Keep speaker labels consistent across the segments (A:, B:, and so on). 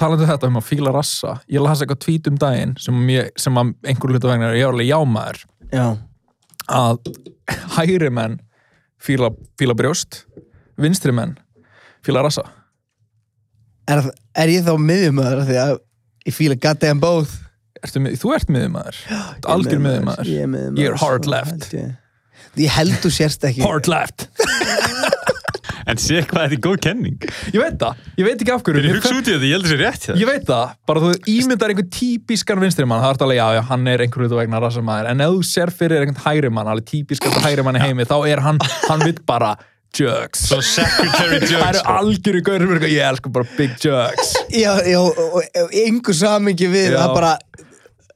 A: talandi um þetta um að fíla rassa ég las eitthvað tvít um daginn sem, ég, sem að einhver hluta vegna er ég alveg jámaður
B: já,
A: að hægri menn fíla, fíla brjóst vinstri menn fíla rassa
B: er, er ég þá miðjumöður því að ég fíla goddamn both
A: Ertu, mið- þú ert miðumæður algjör miðumæður
B: Ég er miðjumaður,
A: Ég er hard
B: svo
A: left.
B: held ég. ég held þú sérst ekki
A: hard left
C: En sé hvað þetta er góð kenning.
A: ég veit það, ég veit ekki af hverju
C: Þegar ég
A: Mér
C: hugsa út í þetta, ég held þessi rétt
A: Ég veit það, bara þú ímyndar einhvern típiskan vinstri mann, það er alveg, já, já, hann er einhver hlutu vegna rassamæður, en ef þú sér fyrir einhvern hægri mann, alveg típiskan hægri mann í heimi, þá er hann, hann vill bara jugs.
C: Svo secretary
A: Það eru
C: jokes. sko.
A: algjöru gauður mér, ég elsku bara big jugs.
B: já, já, og- og- og engu samingi við
A: Já.
B: það bara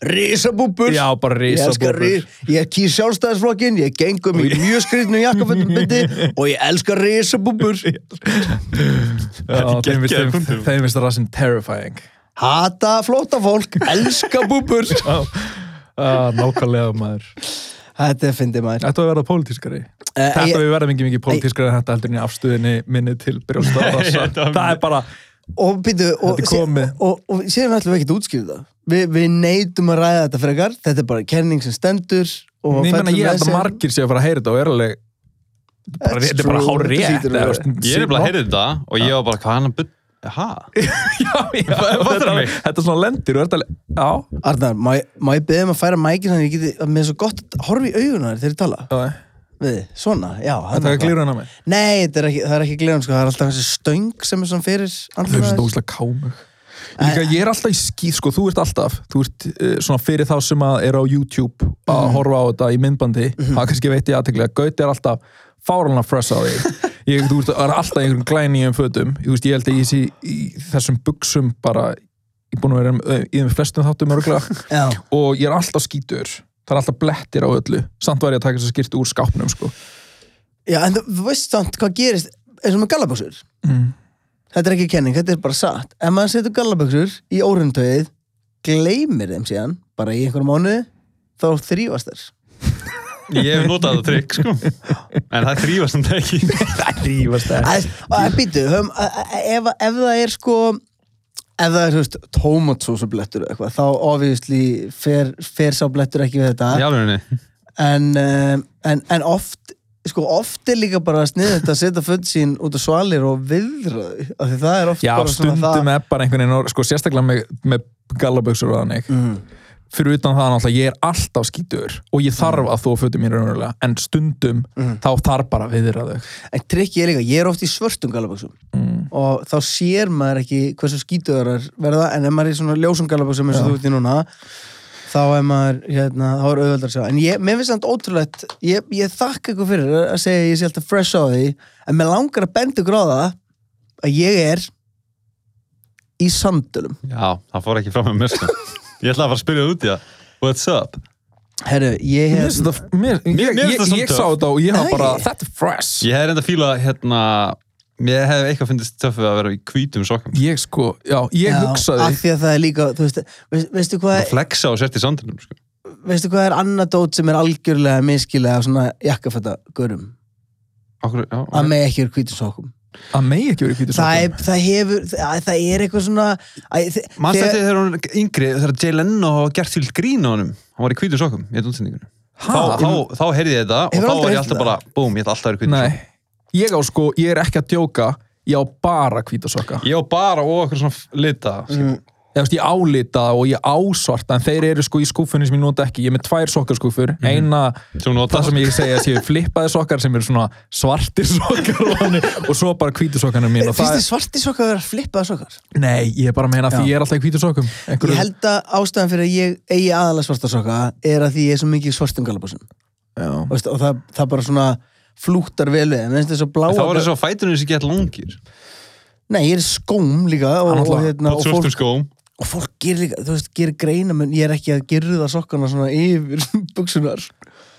B: risabúbur
A: Já, bara
B: Ég, elska ri-
A: risabúbur.
B: ég kýr sjálfstæðisflokkin, ég gengum í mjög skrýtnu jakkafötumundi og ég elska risabúbur.
A: Já, þeim finnst-
C: geggjaður
A: þeim-
C: punktur.
A: Þeim finnst rassin terrifying.
B: Hata flóta fólk, elska búbur.
A: Ah, Nákvæmlega maður.
B: Þetta fyndi maður.
A: Þetta var að verða pólitískari.
B: Eh,
A: Þetta
B: ég-
A: við verðum ekki mikið pólitískari en þetta heldur niður afstöðinni minni til brjósta og rassa.
C: Þetta var-
A: Það er bara,
B: Og býtu, og,
A: Þetta er
B: sé-
A: komið.
B: og, og, og síðan ætlum við ekkert að útskýra það. Vi, við neytum að ræða þetta frekar, þetta er bara kenning sem stendur. og
A: Nei, ég meina,
B: fellur
A: ég
B: með
A: held að
B: sér.
A: margir séu að fara að heyra þetta og er alveg bara,
B: That's
A: þetta er bara
B: true.
A: hár
B: Þetta
A: rétt
B: hlýtur að vera.
C: Ég er nefnilega að heyra þetta og ég var bara, hvað er hann að byrja? Ha? Fattar mig?
A: Þetta er svona lendir og er þetta alveg, já,
B: Arnar, má, ég- má ég beðið um að færa mækin þannig að ég geti, að mér er svo gott að horfa í augunar þegar ég tala.
A: já,
B: Við, svona, já. hérna.
A: þetta er glýrun á mig
B: Nei, þetta er ekki, það er ekki glirun, sko, það er alltaf þessi stöng sem er svona fyrir
A: Þau finnst
B: andlitaðir.
A: þetta óslega kámug Líka, ég er alltaf í skýð, sko, þú ert alltaf þú ert uh, svona fyrir þá sem að er á YouTube að
B: Mhm.
A: horfa á þetta í myndbandi það kannski veit ég aðteklega, Gauti er alltaf fáralan að fressa á því ég, þú ert er alltaf í einhverjum glænýjum fötum ég, veist, ég held að ég sé í þessum buksum bara, ég er búin að vera eh, í þeim flestum þáttum örgulega
B: Já,
A: og ég er alltaf skítur það er alltaf blettir á öllu samt var ég að taka þess að skýrt úr skápnum sko.
B: já, en þú, þú veist samt hvað gerist eins og með gallabuxur.
A: mm.
B: Þetta er ekki kenning, þetta er bara satt. Ef maður setur gallabuxur í órundtöðið, gleymir þeim síðan, bara í einhverjum mánuði, þá þrývast þér.
C: Ég hef notað það trikk, sko. En það þrýfast hann ekki.
A: Það drífast það
B: Að- að- Býtu, höfum- að- að- ef, ef það er sko ef það er, þú veist, tómatsósublettur eða eitthvað, þá obviously fer, fer sá blettur ekki við þetta
C: Í alvegni.
B: en, um, en, en oft sko oft er líka bara sniðið þetta að setja föt sín út á svalir og viðra þau, af því það er oft
A: Já,
B: bara
A: stundum er bara einhvern veginn orð- sko, sérstaklega með, með gallaböksur og þannig
B: mm.
A: fyrir utan það náttúrulega, ég er alltaf skítur og ég þarf að þú að fötum mér raunverulega en stundum
B: Mm.
A: þá þarf bara að viðra þau
B: en trikki er líka, ég er oft í svörtum galabaksum
A: mm.
B: og þá sér maður ekki hversu skítuðarar verða, en ef maður er í svona ljósum galabaksum eins og
A: Já.
B: þú ert í núna þá er maður, hérna, þá er auðveldar að sjá en ég, mér finnst þannig ótrúlegt ég, ég þakka ykkur fyrir að segja að ég sé alltaf fresh á því en mér langar að benda ykkur á það að ég er í samdölum
C: Já, það fór ekki fram með mér, sko. Ég ætlaði að fara að spyrja út í það. What's up?
B: Herru, ég
A: Mér
B: hef
A: finnst þetta- mér-
C: Mér-
A: ég,
C: mér finnst
A: ég,
C: það samt
A: ég
C: töff.
A: sá þetta og ég hafa
B: Nei.
A: bara þetta er fresh
C: Ég hef reynda að fíla, hérna, ég hef eitthvað fundist töffið að vera í hvítum sokkum.
A: ég sko, já, ég
B: Já, af
A: hugsaði
B: því að það er líka, þú veist, veist veistu
C: Það
B: hvað,
C: flexa og sért í sandinum, sko.
B: veistu hvað er annað dót sem er algjörlega miskilega af svona jakkafætta görum
C: Okkur, já,
B: að með ekki er hvítum sokkum
A: að megi ekki verið hvítur
B: það, er- það hefur, það, það er eitthvað svona að, þe-
C: Manst
B: þegar-
C: þetta þegar hún er yngri, þegar Jay Leno hafa gert til grín á honum, hann var í hvítum sokkum, ég er útsendingunum. Þá, þá, þá heyrði ég þetta og
B: Ah. Hefur
C: þá
B: aldrei
C: var ég
B: heyrt
C: alltaf
B: þetta?
C: bara, búm, ég ætla alltaf að vera í hvítum sokkum.
A: Nei, ég á sko, ég er ekki að djóka ég á bara hvítasokka ég,
C: Ég á bara og okkur svona lita mm.
A: ég, veist, ég álita og ég ásvarta en þeir eru sko í skúfunni sem ég nota ekki ég er með tvær sokkarskúfur, eina
C: sem nota
A: það sem ég segja séu flippaði sokkar sem eru svona svartir sokkar og, þannig, og svo bara hvítusokkarnir mín og
B: finnst
A: það er,
B: þið svarti sokka að vera flippaða sokkar?
A: nei, ég er bara að meina því
B: Já.
A: ég er alltaf í hvítusokkum
B: Ég held að ástæðan fyrir að ég eigi aðalega svarta sokka er að því ég er svo mikið í svartum galabúsum
A: já.
B: og það, það bara svona flúttar vel við, en það er svo bláa
C: Það var þess að fætunum sem gett langir
B: Nei, ég er í skóm líka og,
A: Hann
B: og,
A: alltaf-
B: hérna, og
C: Bátt
B: fólk
C: svörtum skóm
B: og fólk gerir líka, þú veist, gerir greina menn ég er ekki að gerða sokkana svona yfir buksunar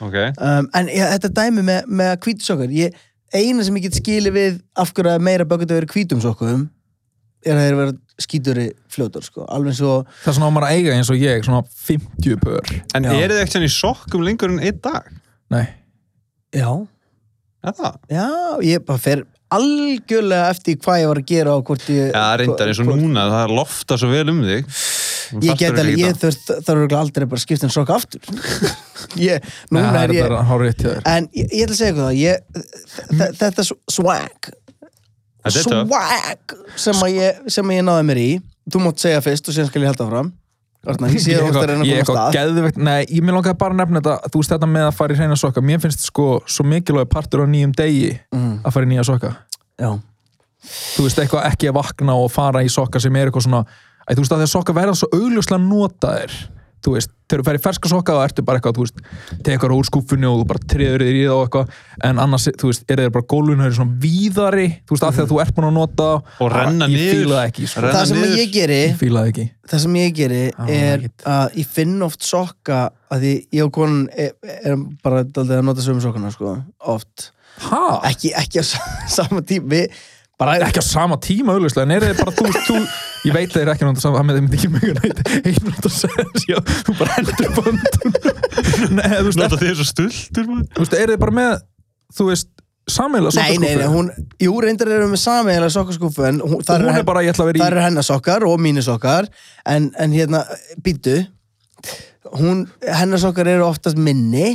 C: ok,
B: um, en ég, þetta dæmi með, með hvítusokkar ég, eina sem ég get skilið við af hverju að meira bökut að vera hvítum sokkum er að þeir vera skíturi fljótar sko. alveg eins og
A: Það er svona á maður að eiga eins og ég, svona 50 pör.
C: en
B: Já.
C: eru þið ekkert í sokkum lengur en einn dag?
A: Nei.
B: já,
C: Er það?
B: já ég bara fer algjörlega eftir hvað ég var að gera og hvort ég
C: Já, reyndar eins og
B: hvort-
C: núna, það lofta svo vel um þig
B: ég get alveg, ég þurft það eru örugglega aldrei bara skipt en sokk aftur ég,
A: Nei,
B: núna er
A: það
B: ég
A: er bara hár rétt hjá þér.
B: en ég, ég ætla að segja eitthvað það, ég, þ- þetta swag
C: Þetta er töff.
B: swag sem, að ég, sem að ég náði mér í þú mátt segja fyrst og síðan skal ég halda fram Arna, ég sé
A: Ég
B: að þú ert að reyna
A: ég
B: að koma
A: eitthvað
B: af stað
A: geðvegt, nei, ég mér langaði bara að nefna þetta þú veist þetta með að fara í hreina sokka mér finnst sko svo mikilvæg partur á nýjum degi
B: Mm.
A: að fara í nýja sokka
B: já,
A: þú veist eitthvað ekki að vakna og fara í sokka sem er eitthvað svona æ, þú veist að þegar sokka verða svo augljóslega notaðir þú veist, þegar þú fer í ferska sokka þá ertu bara eitthvað, þú veist, tekur úr skúfunni og þú bara treður þér í það og eitthvað en annars, þú veist, er þeir bara gólunhöri svona víðari, þú veist, af því að þú ert búin að nota þá.
C: Og renna
A: ég
C: niður.
A: fíla það ekki, sko.
C: Renna-
B: það sem
C: niður.
B: ég geri
A: ég fíla það ekki
B: það sem ég geri
A: Ah,
B: er
A: ekkert.
B: að ég finn oft sokka að því ég og konan er, er bara daldið að nota sömu sokkana sko, oft
A: ha?
B: ekki, ekki á sa- sama tíma við bara
A: ekki á sama tíma auðvitað en er þið bara, þú, þú, ég veit þeir ekki náttúrulega saman, það með þeim ekki mjög nætt einn nátt að segja, já, þú bara heldur böndum Nei, þú veist,
C: Nota þið er svo stultur maður.
A: þú veist, er þið bara með þú veist, sammeila
B: Nei, nei, nei, hún, jú, reyndar erum við sameiginlega sokkaskúfu en hún, þar
A: hún
B: hen-
A: er bara, ég ætla að
B: þar
A: vera í
B: er hennar sokkar og mínu sokkar en, en hérna, býtu hún, hennar sokkar eru oftast minni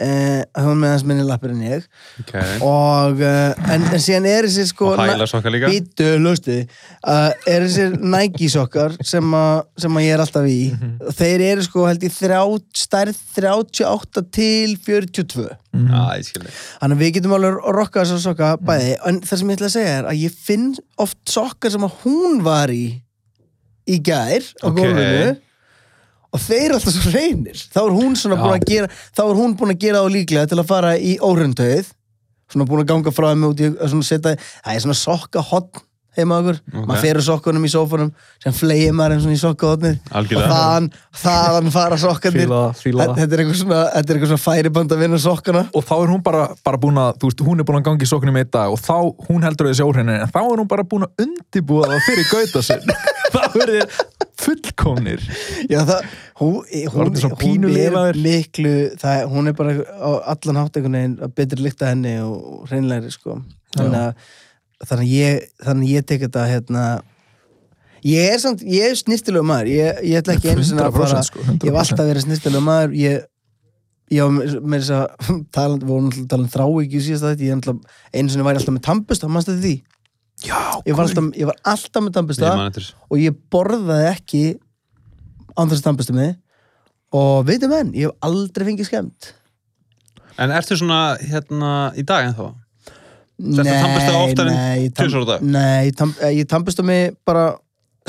B: eh, hún meðans minni lappir en ég
C: okay.
B: og, eh, en, en síðan er þessi sko
C: Og hæla sokkar líka.
B: býtu, lustu uh, er þessir Nike sokkar sem, a, sem að ég er alltaf í
C: Mhm.
B: þeir eru sko held ég þrjá, stærð 38 til 42
C: Já, ég skil þig.
B: Þannig að við getum alveg að rokka þessar sokka bæði
C: Mm.
B: en það sem ég ætla að segja er að ég finn oft sokkar sem að hún var í í gær á
C: Ok.
B: gólfinu og þeir eru alltaf svo reynir þá er hún svona
A: Já.
B: búin að gera þá er hún búin að gera þá líklega til að fara í órundauð svona búin að ganga frá þeim út í að svona setja, það er svona sokka hotn heima okkur,
C: Ok.
B: maður ferur sokkunum í sófunum sem flegir maður einn svona í sokkahotnið og
C: Algjörlega.
B: þaðan, þaðan fara sokkarnir
A: fíla það, fíla
B: þetta
A: það
B: þetta er eitthvað svona, þetta er eitthvað svona færiband að vinna sokkana
A: og þá er hún bara, bara búin að, þú veist, hún er búin að gangi í sokkunum í einn dag og þá, hún heldur þessi óhreinir en þá er hún bara búin að undibúa það fyrir gauta sinn þá er þið fullkomnir
B: Já, það, hún, hún,
A: orðin svo
B: hún
A: pínulegur.
B: er miklu, það, hún er bara á allan hátt einhvern veginn að betri líkta henni og hreinlegri, sko. Þannig að, þannig að ég, þannig að ég tek þetta, hérna, ég er samt, ég er snýstilegu maður, ég, ég ætla ekki einu sinni að
A: 100%
B: fara,
A: sko, 100%.
B: ég hef alltaf verið snýstilegu maður, ég, já, mér þess að, taland, við vorum alltaf talað þrá ekki í síðasta þetta, ég er alltaf, einu sinni væri alltaf með tampust, það mannst þetta því.
A: já,
B: Ég var alltaf, ég var alltaf með
C: Ég
B: tampust
C: man eftir þessu.
B: og ég borðaði ekki án þess að stampustu mig og veitum enn, ég hef aldrei fengið skemmt
C: En ertu svona hérna í dag en þá?
B: Nei,
C: að tannbursta oftar en
B: nei, ég tam-
C: tvisvar á dag?
B: Nei, ég tam- eh, ég tampustu mig bara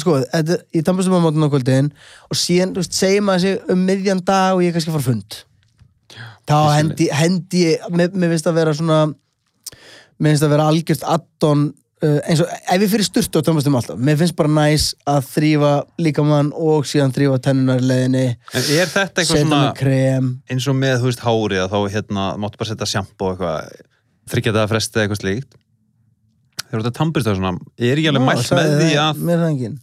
B: sko, þetta, ég tampustu mig á mótun á kvöldin og síðan, þú veist, segir maður sig um miðjan dag og ég er kannski að fara á fund þá hendi, hendi ég mér, mér finnst að vera svona mér finnst að vera algjörst addon uh, eins og, ef ég fyrir sturt og tampustu mig alltaf mér finnst bara næs að þrýfa líkamann og síðan þrýfa tennunar leðinni
C: En er þetta eitthvað
B: setja
C: svona
B: mig krem
C: eins og með, þú veist, hárið að þá hérna, máttu bara setja sjampo og eitthvað þryggja þetta að fresta eitthvað slíkt Þegar þú ert að tambist það svona er ekki alveg
B: Ná,
C: mælt
B: sagði
C: með
B: það-
C: því að
B: mér er það engin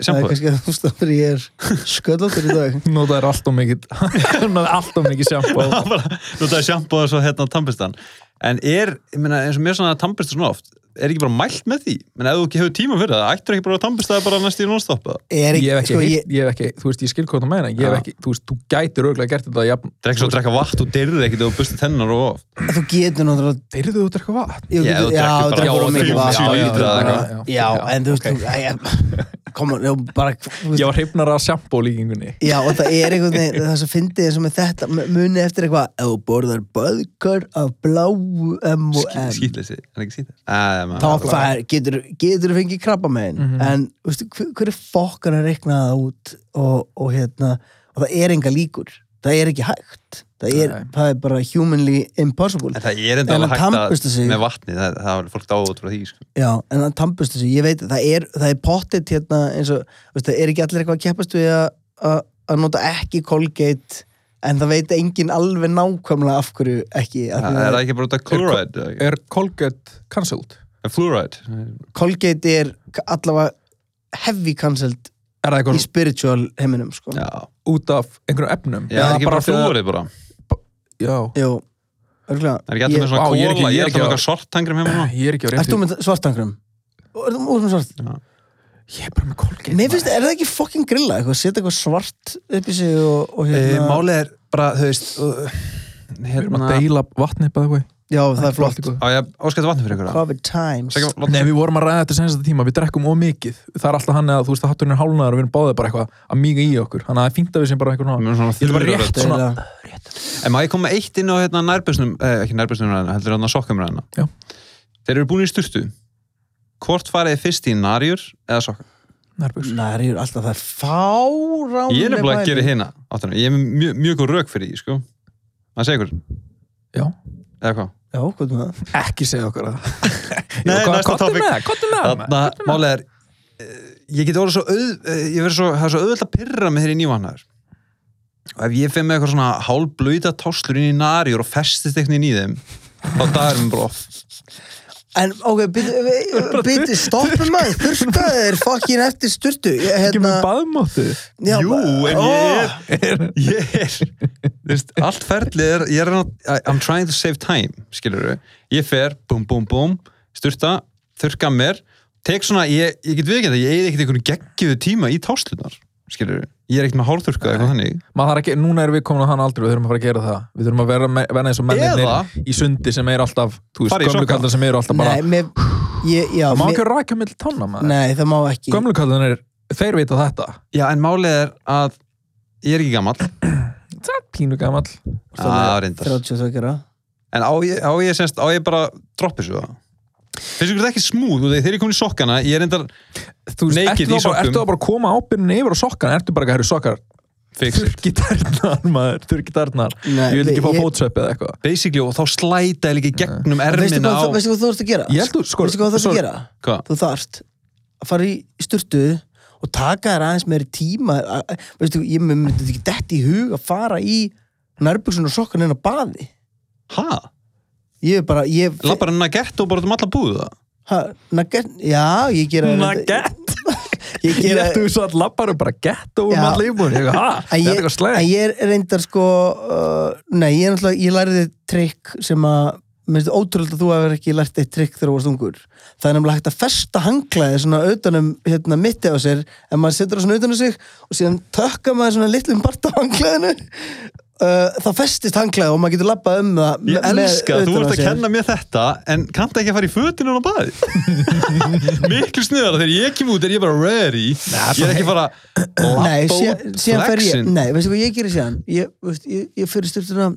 B: það er
C: sjampo?
B: kannski að þú stofnir ég er sköllóttur í dag
A: notaðir allt og mikið notaðir allt og mikið sjampo
C: Það er bara, þú ert að sjampo og svo hérna tambist hann En er, ég meina, eins og mér svona að tambist svona oft er ekki bara mælt með því? Men ef þú ekki hefur tíma fyrir það, ættir ekki bara að tambist það bara næst í non-stoppa?
B: er
A: ég hef ekki,
B: sko,
A: heyrt-
B: ég,
A: ég hef ekki, þú veist, ég skil hvað það meina ég hef
C: Já.
A: ekki, þú veist, þú gætir auðvitað gert þetta jafn,
C: Drekka svo að drekka vatn og dyrði ekki þegar þú bustir tennar og of
B: þú getur náttúrulega
A: deyrðu þú út eitthvað vatn
B: Jú,
C: Já,
B: getur-
C: þú
B: já,
C: drekkur
A: Já,
B: þú drekkur of mikið
C: bara-
A: fimm,
B: vatn.
A: sjö
B: Já,
A: lítra
B: já,
A: eða
B: já,
A: eitthvað. Já,
B: já, en þú veist þú- æ, ég- koma, þú bara þú veist-
A: ég var hrifnar af sjampo líkingunni
B: já, og það er einhvern veginn það sem fyndið eins og með þetta mu- munið eftir eitthvað, ef þú borðar böðkar af bláu M&M
C: Skýtleysi, en ekki skýtleysi Top
B: Top 5 getur, getur fengið krabba megin
C: Mhm.
B: en veistu, hver, hver er fokkan að reikna það út og, og hérna og það er enga líkur, það er ekki hægt það er,
A: Nei.
B: það er bara humanly impossible
C: En það er enda
B: En að
C: alveg hægt
B: tannbursta sig-
C: að með vatni, það, það er fólk dáið út frá því sko.
B: Já, en það tampust þessu, ég veit það er, það er pottitt hérna eins og veistu, það er ekki allir eitthvað að keppast við að- að að nota ekki Colgate en það veit engin alveg nákvæmlega af hverju ekki af því
C: Það
A: eh,
C: er
B: að
C: það ekki bara út af chloride eða ekki?
A: Er Colgate cancelled?
C: Eh, Fluoride
B: Colgate er k- allavega heavy cancelled
A: Er það
B: í
A: eitthvað
B: spiritual heiminum sko.
C: Já,
A: út af einhverjum efnum?
C: já það er ekki bara
A: fyrir
C: flúorið bara
A: Já.
B: Jú, örgulega
C: Það er ekki allir með
A: Vá,
C: svona
A: ég er ekki-
C: kóla
A: ég
C: Ég
A: er
C: er
A: ekki
C: alltaf
A: að-
C: með eitthvað sortangrum heima núna
A: Ah, Ég er ekki á
B: Ert
A: reyndi.
B: þú með svartangrum? Er þú út með svart?
A: Ég er bara með Colgate.
B: Mér finnst, er það ekki fucking grilla? Eitthvað, setja eitthvað svart upp í sig og,
A: Eh,
B: og
C: Eh,
B: hérna
C: er bara, þú veist uh,
A: Við erum
C: Hérna-
A: að deila vatni bara eitthvað.
B: Já, það er flott
C: Á ég að óskæta vatni fyrir ykkur það?
B: Covid times
C: Sækja vatn-
A: Nei, við vorum að ræða þetta senast tíma, við drekkum of mikið. Það er alltaf hann eða, þú veist, að hatturinn er hálnaður og við erum báðið bara eitthvað að míga í okkur. Þannig að það er fínt að við sem bara eitthvað
C: Við
A: svona...
C: erum svona
A: Ég er bara
C: þurrar
A: rétt
C: öll.
A: svona...
B: Deila.
C: En má ég koma eitt inn á hérna nærbjörnsnum, eh, ekki nærbjörnsnum ræðina, heldur hérna sokkum ræðina.
A: Já.
C: Þeir eru búin í sturtu. Hvort farið þið fyrst í nærjur eða sokkum?
A: Nærbuxur.
B: Nær, ég er alltaf það er fáránlega
C: Ég er nefnilega að gera
B: pæling.
C: hérna, áttunum. Ég er með mjög, mjög góð rauk fyrir því, sko. Það segir ykkur,
A: Já.
C: eða hvað?
B: Já, hvað er það?
A: Ekki segja okkur það.
C: Nei,
A: Jú, hvað-
C: næsta
A: komdu
C: topic.
A: með það, komdu með það, maður.
C: Þarna, málið er, eh, ég geti orðið svo auð, eh, ég verið svo, það er svo auðvöld að pyrra með þeirri nývannaður. Og ef ég fyrir með eitthvað svona hálblöyta táslur inn í nærjur og festist eitthvað í þeim, þá dagur mér brof.
B: En, ok, byrju, eh, byrju, stoppum maður Þurrkaðu þér fucking eftir sturtu Ég,
A: Ekki
B: hérna,
A: með baðmáttu.
B: já,
C: Jú, en
B: ó,
C: ég er, ég er þú veist, allt ferlið er ég er að, I- I'm trying to save time skilur við, ég fer, búm, búm, búm styrta, þurka mér tek svona, ég, ég get viðkjönd að ég eigið ekkert einhvern geggjöðu tíma í táslunar skilur við, ég er ekkert með hárþurka eitthvað þannig
A: Maður þarf að gera, núna erum við komin á hann aldrei, við þurfum að fara að gera það. Við þurfum að vera, me- verða eins og
C: Eða-
A: mennir í sundi sem er alltaf, þú
C: Fara í
A: veist, gömlu
C: sokka.
A: kallar sem eru alltaf bara...
B: Nei, mér ég, já,
A: Það má
B: mér,
A: ekki raka með tanna maður.
B: Nei, það má ekki
A: Gömlu kallarnir, þeir vita þetta.
C: já, en málið er að ég er ekki gamall
A: Það er pínu gamall.
C: að Ah, reyndar,
B: 32 gera
C: en á ég, á ég semst á ég bara droppi svo það finnst ykkur það ekki smúð, þegar ég er komin í sokkana ég er reyndar
A: Þú veist,
C: Naked
A: ertu
C: í
A: þá bara,
C: sokkum.
A: ertu þá bara að koma ábyrnin yfir á sokkana, ertu bara að hæru sokkar
C: fix it.
A: þurrki tærnar maður, þurrki tærnar
B: Nei,
A: ég vil ekki fá
B: ég-
A: fótsvepp eða eitthvað
C: basically og þá slæta ég líka í gegnum
B: Veistu
C: ermina
B: hvað,
C: á
B: þú- veistu hvað þú ert að gera?
A: Ég held þú- sko-
B: Veistu hvað þú ert
A: svo-
B: að gera?
C: Hvað?
B: Þú þarft að fara í sturtu og taka þér aðeins meiri tíma að- að- Veistu, ég mér myndi ekki detti í hug að fara í nærbuksun og sokkan inn á baði
C: hæ?
B: Ég er bara, ég
C: Lappar hann að gert og bara um alla búið það?
B: Ha, Nugget? Já, ég gera
A: Nugget?
B: Ég
A: ég
B: gera
A: ættu svo að labbaru bara gett og um
B: Já.
A: allir íbúin ég, ha, þetta
B: En
A: er
B: ég,
A: eitthvað sleið
B: en ég er reyndar sko uh, Nei, ég er náttúrulega Ég læriði trikk sem að Mér finnst ótrúlega að þú hefur ekki lært eitt trikk þegar þú varst ungur Það er nefnilega hægt að festa hanglaði svona utanum hérna, mitti á sér en maður setur það svona utanum sig og síðan tökka maður svona litlum part á hanglaðinu uh, þá festist hanglaði og maður getur labbað um það
C: Ég
B: með-
C: elska að þú
B: utan á
C: ert að
B: sér.
C: kenna mér þetta en kannta ekki að fara í fötinu á baði Miklu sniðara þegar ég kem út er ég bara ready Ég er ekki bara
B: Nei,
C: lappa
B: síðan,
C: út
B: síðan fer ég
C: flexin.
B: Nei, veistu hvað ég gerir síðan Ég, veist, ég, ég fyrir styrtuna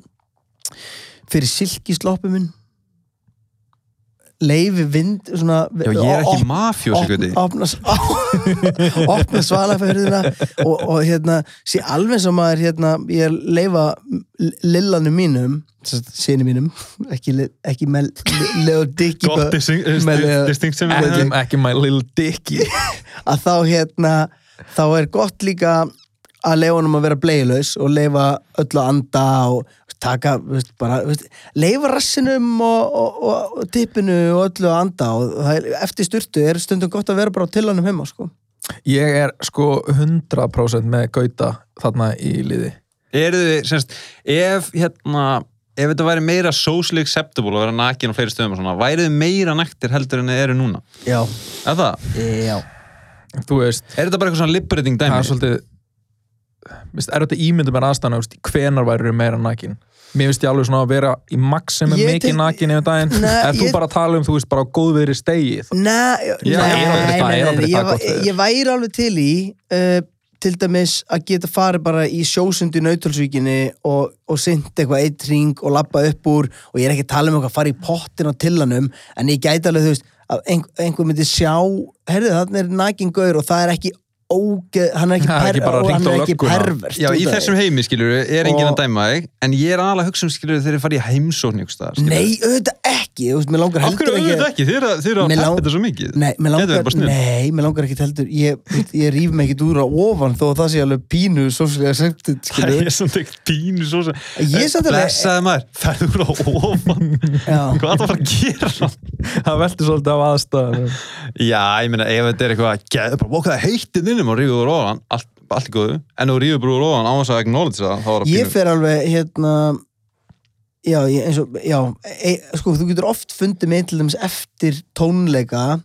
B: Fyrir silki sloppi minn Leifi vind svona,
C: Já, ég er ekki mafjós
B: opna, opna, opna, opna svalafjörðina og, og hérna sé alveg sem maður hérna ég er leifa lillanum mínum sinni mínum ekki, li- ekki með Leo Dicky
C: Gott disting-
B: með Leo-
C: distinction
A: ekki, ekki my little dicky
B: að þá hérna þá er gott líka að leifa honum að vera bleilaus og leifa öllu að anda og taka, veist, bara, veist, leifa rassinum og, og, og, og tippinu og öllu að anda og það er, eftir styrtu er stundum gott að vera bara á tillanum heima sko.
A: ég er sko 100% með gauta þarna í liði
C: Eru þið, semst, ef hérna Ef þetta væri meira socially acceptable að vera nakin á fleiri stöðum og svona, værið þið meira naktir heldur en þið eru núna?
B: Já,
C: Er það?
B: já
A: þú veist,
C: Er þetta bara eitthvað svona liberating
A: það er
C: dæmi?
A: svolítið Vist, er þetta ímyndum er aðstæðan hvenar væri meira nakin mér finnst ég alveg svona að vera í maximum
B: Ég
A: mikið
B: tek-
A: nakin yfir daginn
B: Nei,
A: ef þú
B: ég-
A: bara tala um þú veist bara á góðviðri stegi þá-
B: Nei,
A: Já,
B: nei,
A: ég er aldrei-
B: nei,
A: það er
B: nei,
A: aldrei það
B: nei, ég,
A: gott
B: ég,
A: veður.
B: ég væri alveg til í uh, til dæmis að geta farið bara í sjósundi nautalsvíkinni og, og synt eitthvað eitt ring og labba upp úr og ég er ekki að tala um eitthvað að fara í pottin og tillanum en ég gæti alveg, þú veist, að ein, einhver myndi sjá herðu, þannig er nakin gaur og það er ekki ógeð, hann er ekki,
A: Það er ekki bara
B: og
A: hringt
B: hann
A: á
B: er ekki
A: lögguna.
B: pervert
C: Já,
B: út
C: í
B: af
C: þessum
B: því.
C: heimi, skilur, er enginn
B: Og-
C: að dæma þig en ég er aðalega að hugsa um, skilur, þegar þið farið í heimsókn ykkur staðar, skilurðu.
B: Nei, auðvitað ekki, þú veist, mér langar
C: Af
B: heldur
C: hverju
B: ekki
C: auðvitað ekki? Þið eru að- þið eru að
B: Mér
C: peppa
B: lang-
C: þetta svo mikið.
B: Nei, mér
C: Þetta er
B: langar,
C: bara snill.
B: nei, mér langar ekki heldur ég, ég rýf mig ekkert úr á ofan þó að það sé alveg pínu sóslega septið,
C: Það
B: skilur
C: er samt ekkert pínu svo sem...
B: Ég er samt alveg-
C: Blessaði maður, ferðu úr á ofan.
B: Já,
C: Hvað er það að fara að gera?
A: það veldur svolítið af aðstæðan
C: Já, ég meina, ef þetta er eitthvað að geða, bara bókaði heittið innum og rífið úr ofan, allt, allt í góðu. En ef þú rífið bara úr ofan á þess að acknowledge það, þá var það
B: ég fer alveg hérna já, ég, eins og, já e, sko, þú getur oft fundið mig til dæmis eftir tónleika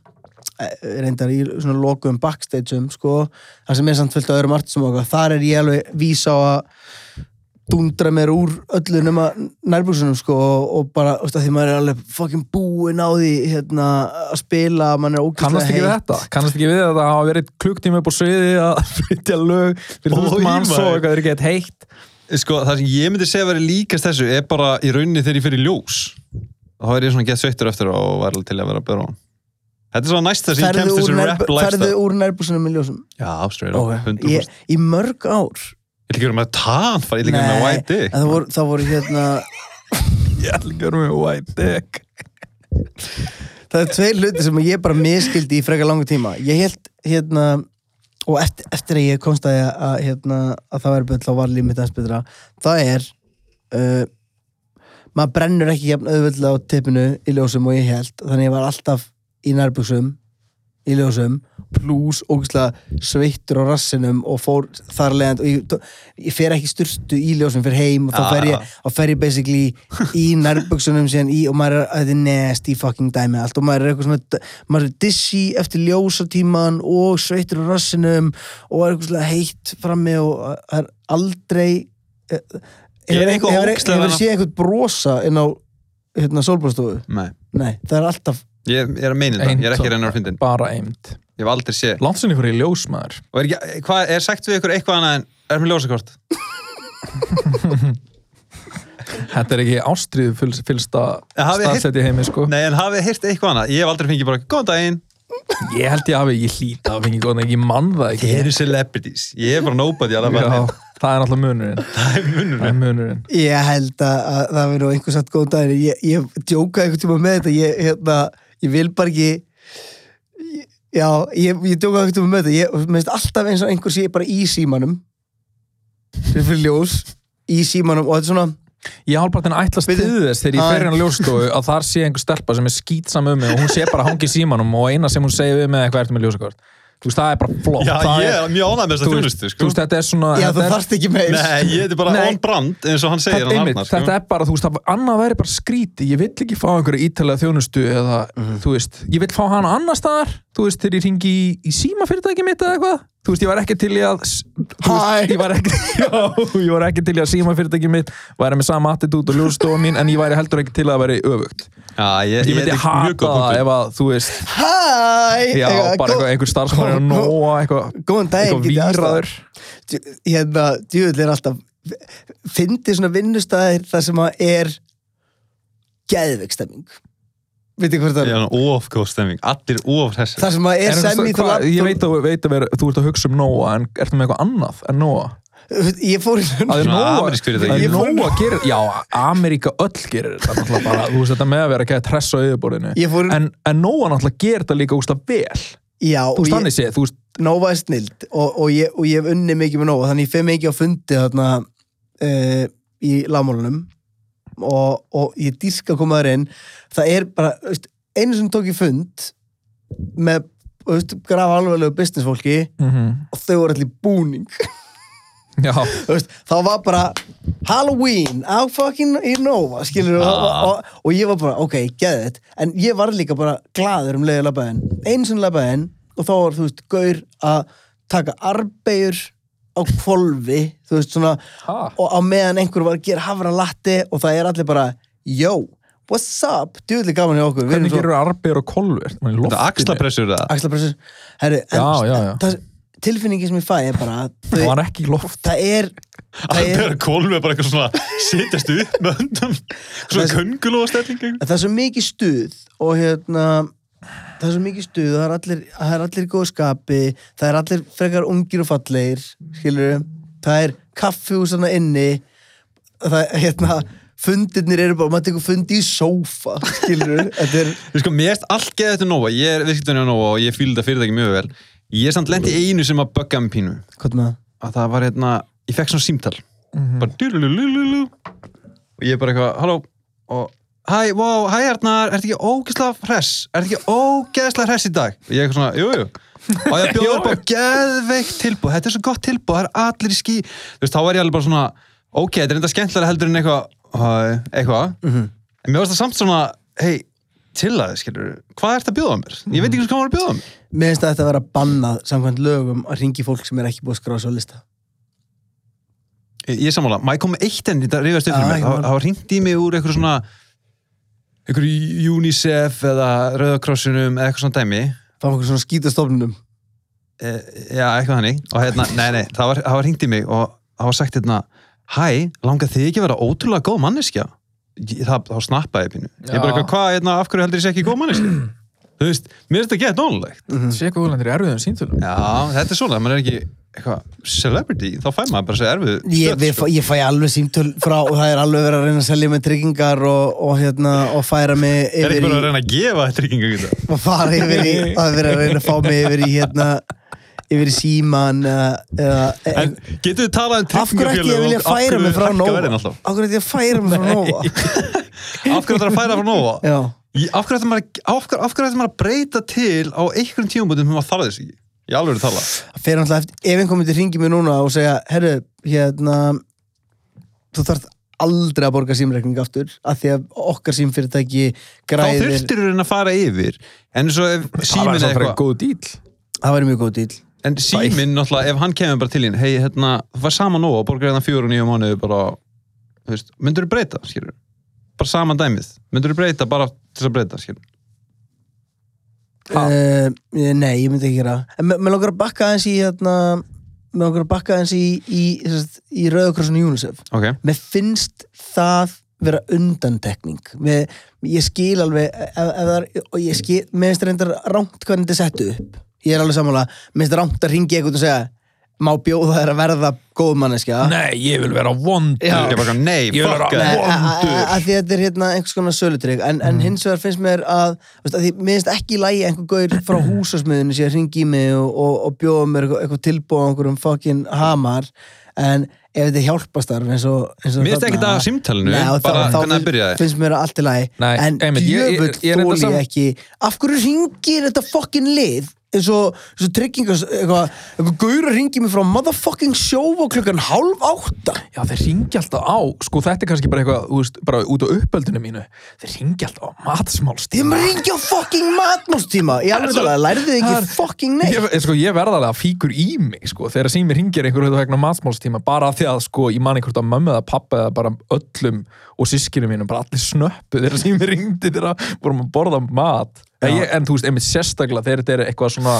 B: eh, reyndar í svona lokuðum backstageum sko, þar sem er samt fullt á öðrum artistum og okkar, þar er ég alveg vísa á að dundra mér úr öllu nema nærbúsunum sko og- og bara, þú veist, að því maður er alveg fucking búinn á því hérna að spila, mann er ógæslega
A: kannast ekki við þetta kannast ekki við þetta að hafa verið klukktíma upp á sviði að flytja lög fyrir
C: Ó,
A: þú veist manns
C: maður.
A: og eitthvað er ekki eitt heitt
C: Sko, það sem ég myndi segja að vera líkast þessu er bara í rauninni þegar ég fyrir ljós þá er ég svona gett sveittur eftir og var alveg til að vera að bera á hann Þetta er svona næst þess að ég
B: ferðu
C: kemst
B: úr,
C: þessu rap
B: nærbu- ferðu
C: lifestyle
B: úr nærbúsunum með ljósum
C: Já, straight up,
B: okay.
C: 100%
B: ég, í mörg ár
C: Ég ætla ekki að vera með tan, fara, ég ætla ekki að vera með
B: Nei,
C: white dick
B: en það voru, það voru hérna
A: ég ætla ekki að vera með white dick
B: það er tveir hluti sem ég bara miskildi í frekar langa tíma ég held hérna og eftir, eftir að ég komst að, ég að, hérna, að það væri betra þá var límit aðeins betra það er uh, maður brennur ekki jafn auðvöldlega á tippinu í ljósum og ég held þannig ég var alltaf í nærbuksum í ljósum pluss ógæslega sveittur á rassinum og fór þar leiðand og ég, ég fer ekki styrstu í ljósum fyrir heim og þá
C: Ah.
B: fer ég, þá fer ég basically í nærbuksunum síðan í og maður er þetta er nasty fucking dæmi allt og maður er eitthvað svona maður er dizzy eftir ljósatíman og sveittur á rassinum og er eitthvað svona heitt frammi og uh, það er aldrei eh,
C: Ég
B: hefur-
C: er eitthvað
B: hefur-
C: ógeðslega
B: hefur
C: vel að-
B: séð eitthvað brosa inn á hérna sólbúrstofu
C: Nei,
B: nei, það er alltaf
C: ég, ég er að meina þetta, ég er ekki að reyna að finna þetta
A: bara eimt
C: Ég hef aldrei séð
A: landsinni fyrir ljósmaður
C: Og er, ekki, hvað, er sagt við ykkur eitthvað annað en er með ljósakort?
A: þetta er ekki ástriðu fylst, fylsta
C: En hafið heyrt-
A: staðsett í heimi sko
C: Nei, en hafið heyrt eitthvað annað? Ég hef aldrei fengið bara, góðan daginn
A: ég held ég hafi, ég hlýta að fengi góðan ég mann það ekki
C: Þið eru celebrities, ég er bara nobody
A: Já,
C: alveg
A: það er alltaf munurinn
C: Það er munur
A: það er munurinn
B: Ég held að, að það verður einhvers sagt góðan daginn ég, ég djókaði einhvern tíma með þetta ég, hérna, ég vil bara ekki ég, Já, ég, ég djókaði einhvern tíma með þetta ég mér finnst alltaf eins og einhver sé bara í símanum sem fyrir ljós í símanum og þetta er svona
A: Ég hálf bara þennan ætlast
B: Bíddu.
A: til þess þegar ég
B: Æ.
A: fer hérna ljóstofu að þar sé einhver stelpa sem er skýtsam um mig og hún sé bara hangi í símanum og eina sem hún segir við mig er eitthvað ertu með ljósakort Þú veist, það er bara flott
C: Já,
A: það
C: ég er mjög ánægð með þessa
A: þú veist,
C: þjónustu,
A: þú
C: sko
A: veist, þetta er svona
B: Já,
A: þetta
B: þú
A: er-
B: þarft ekki meir
C: Nei, ég er bara
A: Nei.
C: on brand eins og hann segir
A: þetta,
C: hann
A: einmitt,
C: Arnar sko.
A: þetta er bara, þú veist, það- annað væri bara skríti ég vill ekki fá einhverja ítalega þjónustu eða, þú veist, ég vill fá hana annar staðar þú veist, þegar ég ringi í, í símafyrirtæki mitt eða eitthvað, þú veist, ég var ekki til í að þú
B: Hæ.
A: veist, ég var ekki já, ég var ekki til í að símafyrirtæki mitt væri með sama attitút og ljóðstofa mín en ég væri heldur ekki til að veri öfugt
C: sko. Já, ég,
A: ég myndi
C: þetta er mjög
A: hata
C: góð
A: það
C: punktur.
A: ef að, þú veist
B: Hæ
A: já, bara eitthvað, einhver starfsmæri að nóa eitthvað,
B: Góðan daginn
A: eitthvað
B: get ég aðstoðað?
A: víraður
B: Djú- hérna, djúvill er alltaf fyndi svona vinnustæðir þar sem að er geðveikstemming veitir hvort það er
C: Ég er hann ofgóð stemming, allir of þessi
B: þar sem að
A: En
B: er
A: þú
B: semmi
A: veist, hvað- ég veit að, veit að vera, þú ert að hugsa um Nóa en ertu með eitthvað annað en Nóa
B: ég fór í
A: Það er
C: Svona
A: nóg
C: amerísk fyrirtæki.
A: Það
B: Ég
A: er
B: fór-
A: nóg að gera Já, Ameríka öll gerir þetta náttúrulega bara Þú veist þetta með að vera ekki að tressa á yfirborðinu
B: Ég fór-
A: En, en Nóa náttúrulega gerir þetta líka úst vel
B: já,
A: Þú
B: og
A: veist
B: ég,
A: þannig séð, þú veist
B: Nova er snild og, og, ég, og ég hef unni mikið með Nova þannig ég fer mikið á fundi þarna uh, í lágmálunum og, og ég dýrka að koma þar inn það er bara, veist, einu sem tók ég fund með veist, grafa alveglegu businessfólki og þau voru allir búning
A: Já,
B: Þú veist, þá var bara Halloween á fucking í Nova skilur við
C: Ah.
B: og, og, og ég var bara, ok, geðið þetta en ég var líka bara glaður um leiði labbaðin eins og labbaðin og þá var, þú veist, gaur að taka arbegjur á kvolfi þú veist, svona
A: Ha.
B: og á meðan einhver var að gera hafra latti og það er allir bara, yo what's up, djúðli gaman hjá okkur Við erum
A: hvernig
B: svo-
A: gerur arbeigur og kolver
C: Þetta er axlapressur eða?
B: axlapressur Herri, en,
A: Já, já, já.
B: Það, tilfinningin sem ég fæ er bara að
A: Það
B: þau,
A: var ekki í loft
B: það er það
C: Allir
B: er,
C: að kólum er bara eitthvað svona setjast upp með höndum svona
B: Þessi-
C: köngulóa stellingu
B: það er svo mikið stuð og hérna það er svo mikið stuð, það er allir það er allir í góðu skapi, það er allir frekar ungir og fallegir, skilur það er kaffi úr svona inni það er hérna fundirnir eru bara, maður tekur fundi í sófa skilur, þetta er
C: Ég sko, mér erst allt geðið þetta nóa, ég er viðskiptunni á nóa og ég fýl þetta fyrirtæki mjög vel. Ég er samt lent í einu sem að bugga mig pínu.
B: hvað með það?
C: Að það var hérna, ég fekk svona símtal. Bara dulululululu. Og ég er bara eitthvað, halló, og hæ, wow, hæ Arnar, ertu ekki ógeðslega hress? Ertu ekki ógeðslega hress í dag? Og ég er eitthvað svona, jú, jú. Og ég bjóði upp á geðveikt tilbúð, þetta er svo gott tilbúð, það er allir í skí. Þú veist, þá var ég alveg bara svona, ok, þetta er enda skemmtilega heldur en eitthvað, hæ, eitthvað. En mér varst það samt svona, hei, til að, skilur, hvað ert að bjóða mér? Ég veit ekki hvað maður að bjóða mér.
B: Mér finnst að þetta vera bannað samkvæmt lögum að ringi fólk sem er ekki búið að skráða svo lista
C: Ég, ég sammála, maður kom með eitt enn, þetta rifjast upp
B: Já,
C: fyrir
B: ekki
C: mér.
B: mál.
C: Það var hringt í mig úr einhverju svona, einhverju UNICEF eða Rauðakrossinum eða eitthvað svona dæmi.
B: Það var okkur svona skítastofnunum
C: E, já, eitthvað þannig. Og hérna, nei, nei, það var, það var hringt í mig og það var sagt hérna, hæ, langar þið ekki að vera ótrúlega góð manneskja? Ég- Það, þá snappaði ég pínu. Ég bara,
A: Já.
C: eitthvað, hvað, hérna, af hverju heldur ég sé ekki góð manneskja? Þú veist, mér er þetta gett nónulegt.
B: Mm.
A: sé hvað úlendir í
C: um
A: erfiðum síntölu
C: Já, þetta er svona, maður er ekki eitthvað celebrity, þá fær maður bara sér erfið
B: ég, við,
C: sko.
B: fæ- ég fæ alveg símtöl frá og það er alveg verið að reyna að selja mig tryggingar og, og, hérna, og færa mig
C: Er ekki
B: yfir
C: bara
B: í
C: að reyna að gefa þetta tryggingu þetta?
B: og fara yfir í það er verið að reyna að fá mig yfir í hérna, yfir í síman eða, eða
C: En getur þið talað um
B: af hverju ætti
C: tryggingafélög
B: ég að vilja
C: og af
B: færa
C: hverju
B: mig frá
C: hækka
B: Nova af hverju ætti ég að færa mig frá Nova
C: verðin alltaf? Af hverju ætti að færa frá Nova?
B: já,
C: Í- Af hverju ætti maður að- af hverju- af hverju ætti maður að breyta til á einhverjum tímabútum sem maður þarf þess ekki? Ég alveg er að tala
B: það fer náttúrulega eftir ef einhver myndi ringi mig núna og segja herru, hérna þú þarft aldrei að borga símrekning aftur af því að okkar símfyrirtæki
C: Þá
B: græðir,
C: þurftir þú að fara yfir En svo ef
A: það
C: síminn
A: var
C: eða
A: samt frekar
C: eitthvað
A: góð díl
B: það væri mjög góð dýl
C: En síminn náttúrulega, ef hann kemur bara til hinn Hei, hérna, þú fær sama Nova og borgar hérna fjóru og nýju mánuði bara, þú veist, myndur þú breyta, skilur Bara sama dæmið, myndur þú breyta bara til að breyta, skilur
A: Ha?
B: Uh, nei, ég myndi ekki gera það. En mér- Mér langar að bakka aðeins í hérna, mér langar að bakka aðeins í, í, sem sagt, í Rauðakrossun UNICEF
C: Ok,
B: Mér finnst það vera undantekning mér, Ég skil alveg ef, ef það er, og ég skil, mér finnst reyndar rámt hvernig þetta er sett upp Ég er alveg sammála, mér finnst rámt að ringi eitthvað og segja má bjóða þær að verða góð manneskja
A: nei, ég vil vera vond
B: Já.
C: Ég er bara, nei,
A: Ég vil
C: fuck
A: vera-
C: it.
B: Nei,
A: Vondur.
B: a- a- a- af því að þetta er hérna einhvers konar sölutrygg en, en hins vegar finnst mér að, veist, að því, mér finnst ekki í lagi að einhver gaur frá húsasmiðinu sem hringi í mig og, og, og bjóða mér eitthvað, eitthvað tilbúið á einhverjum fucking hamar en ef þetta hjálpast þar eins og, eins og
C: Mér finnst ekki það af símtalinu, bara hvernig það byrjaði.
B: finnst mér að allt í lagi
A: Nei,
B: en
A: einmitt, ég- ég-
B: djöfull
A: ég er enda
B: þóli
A: sam-
B: ég ekki af hverju ringir þetta fucking lið eins og, eins og tryggingas eitthvað, eitthvað gaur að ringi mig frá motherfucking sjófa klukkan hálf átta
A: Já, þeir ringi alltaf á, sko þetta er kannski bara eitthvað, þú veist, bara út á uppöldinu mínu, þeir ringi alltaf á
B: Þið
A: matsmálstíma.
B: maður ringi á fucking matmálstíma Ég alveg tala, lærðu þið
A: Það er-
B: ekki fucking neitt
A: Ég, ég- sko, ég verða alveg að fíkur í mig, sko, þegar sími ringir einhverju vegna matsmálstíma, bara af því að, sko, ég man einhvert að mömmu eða pappa eða bara öllum og sískinu mínum, bara allir snöppu þegar sími ringdi þegar vorum að borða mat. En, ég, en þú veist, einmitt sérstaklega þegar þetta er eitthvað svona,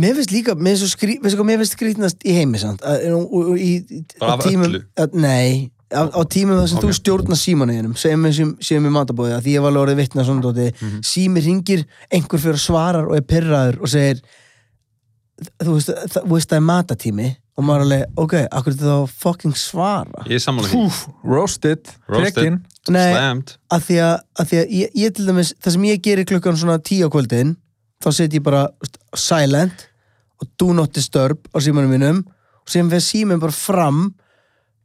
B: Mér finnst líka, mér finnst, svo skrí, veistu hvað, mér finnst skrýtnast í heimi samt að, og, og, og, í,
C: Bara
B: á
C: af
B: tímum,
C: öllu?
B: að, Nei, á, á tímum þar sem
C: Ok.
B: þú stjórnar símaneginum sem, sem, sem er matabóðið því ég var alveg orðið vitna svona dóti
A: Mhm.
B: sími ringir, einhver fyrir að svarar og er pyrraður og segir þú veist, það, þú veist það er matatími og maður er alveg, ok, akkur þetta þá fucking svara
C: Ég er sammála því
A: púf, roasted,
C: Roasted.
A: tekin,
B: Nei.
C: Slammed
B: að því að, að, því að ég, ég til dæmis það sem ég gerir klukkan svona tíu á kvöldin þá set ég bara veist, silent og do not disturb á símanum mínum og sem fyrir síminn bara fram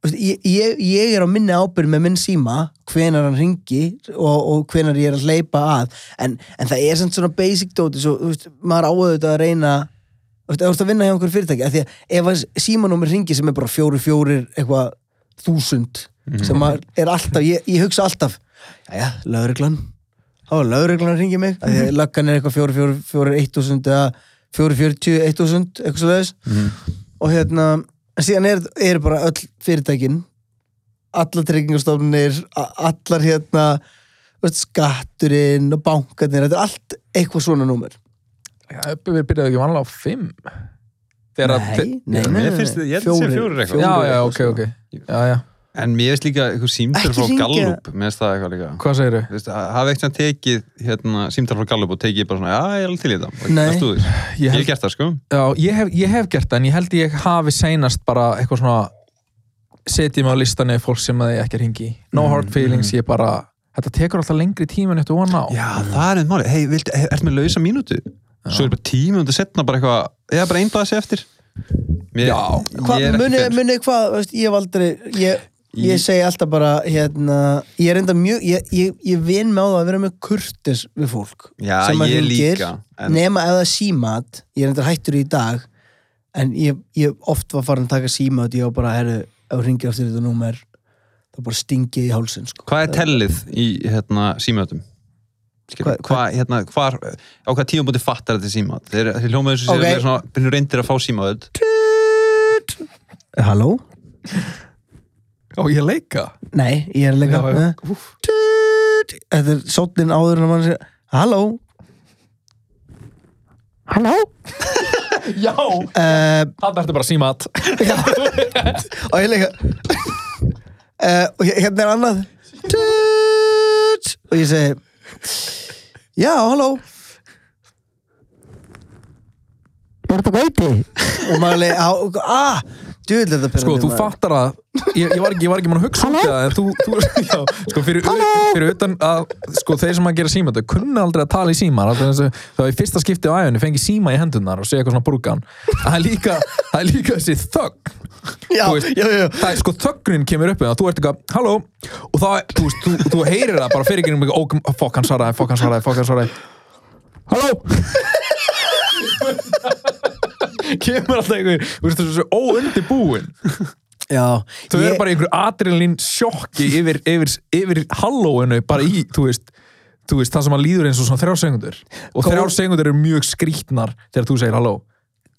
B: veist, ég, ég, ég er á minni ábyrð með minn síma hvenar hann ringi og, og hvenar ég er að hleypa að en, en það er samt svona basic dóti svo, þú veist, maður áauðvitað að reyna þú veist, ef þú ert að vinna hjá einhverjum fyrirtæki af því að ef að símanúmer ringi sem er bara fjóri fjórir eitthvað þúsund sem að er alltaf, ég, ég hugsa alltaf jæja, lögreglan þá er lögreglan að ringi mig af því að löggan er eitthvað fjóri fjóri fjóri eitt þúsund eða fjóri fjörutíu eitt þúsund eitthvað svo leiðis
C: Mhm.
B: og hérna, en síðan er, er bara öll fyrirtækin allar tryggingastofnir allar hérna þú veist, skatturinn og bankarnir þetta er allt eitthvað svona númer
A: já, við byrjaðum ekki vanlega á fimm. Þegar að-
B: Nei, nei, nei,
C: Mér
B: nei,
C: finnst þið- ég held að sé
B: Fjórir,
C: fjórir eitthvað.
A: Já, já,
B: eitthvað
A: ok,
B: svona.
A: ok, já, já,
C: En mér veist líka eitthvað símtal
B: Ekki
C: frá
B: hringja.
C: Gallup Mér veist það eitthvað líka
A: hvað segirðu?
C: Þú veist, ha- Hafið eitthvað tekið hérna, símtal frá Gallup og tekið bara svona, já, ég er alveg til í þetta Og
B: Nei.
C: það stóð því.
A: Ég
C: Ég
A: held
C: hef gert það, sko
A: Já, ég hef, ég hef gert það en ég held ég hafi seinast bara eitthvað svona setjum á listanni fólk sem að ég ekki er hingi í. No hard feelings, ég bara þetta tekur alltaf lengri tíma en þetta vona á
C: Já, það er einn máli. Hei, viltu- hey, ertu með lausa mínútu? Svo er bara tíma undir setna bara eitthvað, eða bara einn baða sér eftir. Mér,
A: Já.
B: Hvað,
C: ég er ekki
B: munið,
C: fyrir.
B: munið hvað, þú veist, ég hef aldrei ég, ég segi alltaf bara hérna, ég er enda mjög ég, ég, ég vin með á það að vera með kurtis við fólk
C: Já,
B: sem að
C: ég
B: hringir,
C: líka, en-
B: nema ef það er símat, ég er enda hættur í dag en ég, ég oft var farin að taka símat, ég var bara herru, ef hringir eftir þetta númer það bara stingið í hálsinn sko.
C: Hvað er tellið í hérna, símjöndum?
B: Hvað-
C: Hvað, hvað, hérna, hvar, á hvað tíum búti fattar þetta símjönd? Þeir, þeir hljómaður sem
B: Ok.
C: okay. sér svona, byrjum reyndir að fá símjönd.
B: Eh, Halló?
A: Á ég að leika
B: Nei, ég er leika Eh,
A: Já, já. Úff.
B: Tut. Þetta er sótnin áður en að mann segja Halló Halló
A: Já,
B: Eh,
A: það ertu bara símat
B: Og ég leika uh, Og ég- hérna er annað Tut. Og ég segi Já, halló Er þetta gæti? Og maður leik Ah, djúvill er þetta
A: Sko,
B: pirrandi
A: þú
B: maður.
A: fattar að ég, ég var ekki, ég var ekki mann að hugsa út í það en þú, þú, já, sko, fyrir, ut- fyrir utan að sko, þeir sem að gera síma þau kunna aldrei að tala í síma þá í fyrsta skipti á æfinu fengi síma í hendunar og segja eitthvað svona brúkan það er líka, það er líka þessi þögg
B: Já,
A: þú veist,
B: já, já, já.
A: það er sko þöggrinn kemur upp með það, þú ert eitthvað, halló og þá, þú veist, þú, þú heyrir það bara fyrir ekki og fokk hann svaraði, fokk hann svaraði, fokk hann svaraði halló kemur alltaf einhver, þú veist, þessu óundibúin
B: Já,
A: þau
B: ég-
A: eru bara í einhverju adrenalín sjokki yfir, yfir, yfir hallóinu bara í, þú veist, þú veist það sem að líður eins og svona þrjár segundur og
B: Góð-
A: þrjár segundur eru mjög skrítnar þegar þú segir halló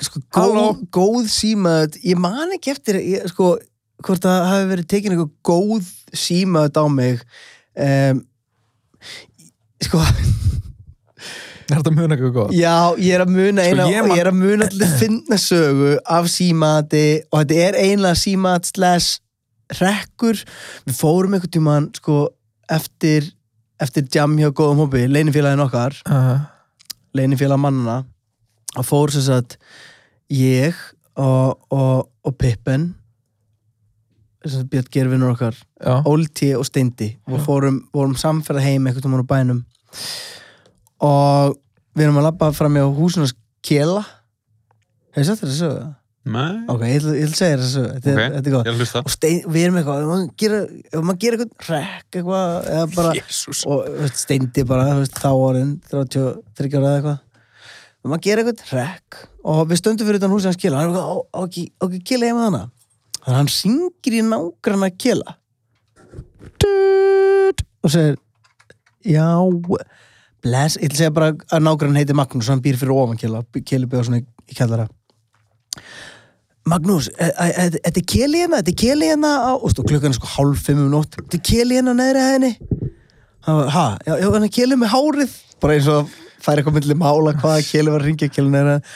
B: sko,
A: Halló?
B: góð, góð símaðut ég man ekki eftir ég, sko, hvort það hafi verið tekin eitthvað góð símaðut á mig um, sko,
A: er þetta mjög nekkuð góð?
B: já, ég er að muna
A: Sko,
B: eina,
A: ég man-
B: ég er að muna allir finna sögu af símaði og þetta er einlega símaðut slash rekkur við fórum einhvern tímann sko, eftir, eftir jam hjá góðum hópi, leinifélagin okkar
A: Uh,
B: leinifélag mannana að fór sem sagt ég og, og, og Pippin sem sagt Björn Gervinur okkar
A: já,
B: Ólti og Steindi og fórum, fórum samferða heim einhvern tímann á bænum og við erum að labba fram hjá húsunars Kjela hefur sagt þér að sögja?
C: Nei,
B: Ok, ég ætla ég ætla að segja þér að sögja þetta,
C: ok,
B: okay. þetta er
C: ég
B: gott
C: er að hlusta.
B: og stein, við erum eitthvað, ef maður gera, ef maður gera eitthvað rekk eitthvað, eða bara
A: jésús
B: og þú veist, steindi bara þú veist, þá orðin, 33 ára eða eitthvað og maður gerir eitthvað trekk og við stöndum fyrir utan húsið hans kila hann er eitthvað, "Á- á ekki, á ekki kila heima hana þannig að hann syngir í nágranna kila Tut, og segir já, bless ég ætla að segja bara að nágrann heiti Magnús og hann býr fyrir ofan kila, kili byggja svona í, í kellara Magnús, e- e- e- þetta er keli hérna, þetta er keli hérna á, og stóð klukkan er sko hálf fimm um nótt, þetta er keli hérna neðri hæðinni hann var, ha, já, já, hann er kelið með hárið bara eins og það er eitthvað myndið mála hvaða kelið var að ringja kelin er að hérna.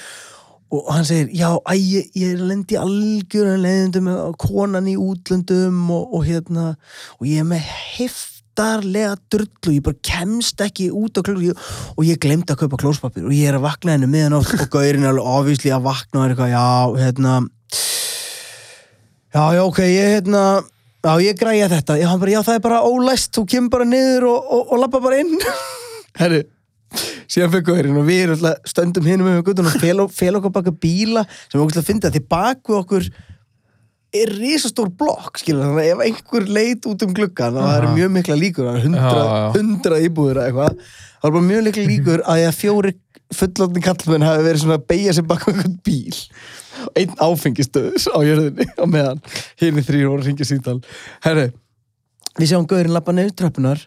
B: og hann segir, já, æ, ég, ég lendi algjörðan leiðindum og konan í útlöndum og, og hérna og ég er með heftarlega drullu, ég bara kemst ekki út á klokk og ég glemdi að kaupa klóspapir og ég er að vakna henni miðanátt og gaurinn er alveg ofísli að vakna og er eitthvað, já, hérna já, já, ok, ég hérna já, ég græja þetta, já, hann bara, já, það er bara ólæst, þú kemur bara niður og, og, og lappa bara inn herru síðan fyrir gaurinn og við erum alltaf stöndum hinum með guttunum og fel, fel okkur baka bíla sem við okkur að finna, því bak við okkur er risastór blokk skilur þannig að ef einhver leit út um gluggan og það eru
A: Aha.
B: mjög mikla líkur það eru hundra,
A: Já, já.
B: hundra íbúður eða eitthvað það eru bara mjög mikla líkur að ég að fjóri fullotni kallmenn hafi verið svona að beigja sig baka einhvern bíl og einn áfengistöðus á jörðinni á meðan hinni þrýr voru að ringja síntal herru, við sjáum gaurinn lappa nefnir tröppunar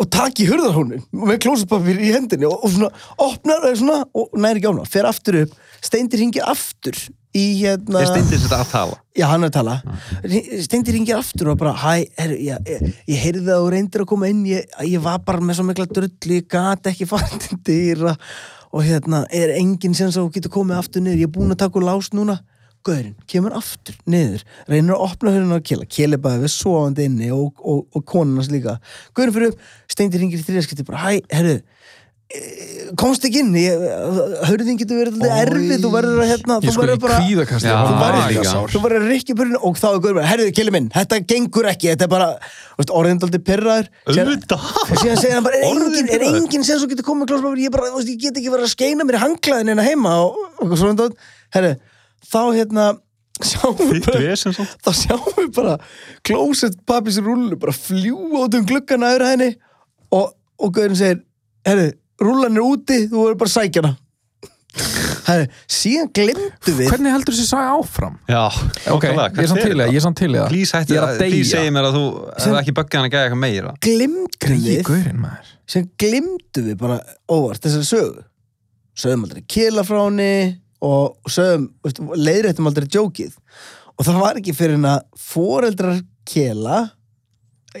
B: og taki hurðarhónin með klósupapir í hendinni og, og svona opnar og, svona, og næri ekki ána, fer aftur upp steindir hingir aftur í hérna
C: Ég steindi þetta að tala.
B: Já, hann er að tala. Steindi ringir aftur og bara, hæ, herru, já, ég, ég heyrði að þú reyndir að koma inn, ég, ég var bara með svo mikla drullu, ég gat ekki fattin dýra og hérna, er enginn sem svo getur komið aftur niður, ég er búin að taka úr lás núna. Gaurinn kemur aftur niður, reynir að opna hörðinu á kela, keli bara við svoandi inni og, og, og konun hans líka. Gaurinn fyrir upp, Steindi ringir í þriðaskipti bara, hæ, herru, eh, komst ekki inn ég, hörðin getur verið alltaf erfið þú verður að hérna,
A: Ég
B: þú
A: sko í
B: verður bara
A: kvíðakasti
C: Ah, Já,
A: bara var líka
B: þú verður
C: það er líka.
A: sár.
B: þú verður að rikki börjun og þá er gaurinn herriðu, killi minn, þetta gengur ekki þetta er bara, veist, orðin daldi pirraður Síðan-
C: Auðvitað.
B: og síðan segir hann bara, er
C: Orðinn
B: engin, er
C: pirraður?
B: engin sem svo getur komið klósmafyrir, ég bara, þú veist, ég get ekki verið að skeina mér hanglaðin en að heima og, og svona dót. herri, þá hérna sjáum við
C: Þitt
B: bara
C: vesen samt.
B: þá sjáum við bara klósett pappis rullu bara fljú át um gluggan aður henni og, og gauðin segir herri, rullan er úti, þú verður bara að sækja hana herri, síðan glemdu við
A: Hvernig heldur þessi saga áfram?
C: Já,
A: Ok,
C: nákvæmlega,
A: ég er samt
C: hvert
A: til í
C: er
A: það, ég
C: þetta?
A: er samt til í það.
C: Please hætti
A: Ég er
C: að
A: að deyja.
C: Please segi mér að þú hefði ekki böggað hann að gæja eitthvað meira
B: glemdu
A: Greið
B: við
A: gaurinn maður.
B: sem glimtu við bara óvart þessari sögu sögum aldrei kila frá henni og sögum, veist, leiðréttum aldrei djókið og það var ekki fyrir en að foreldrar kila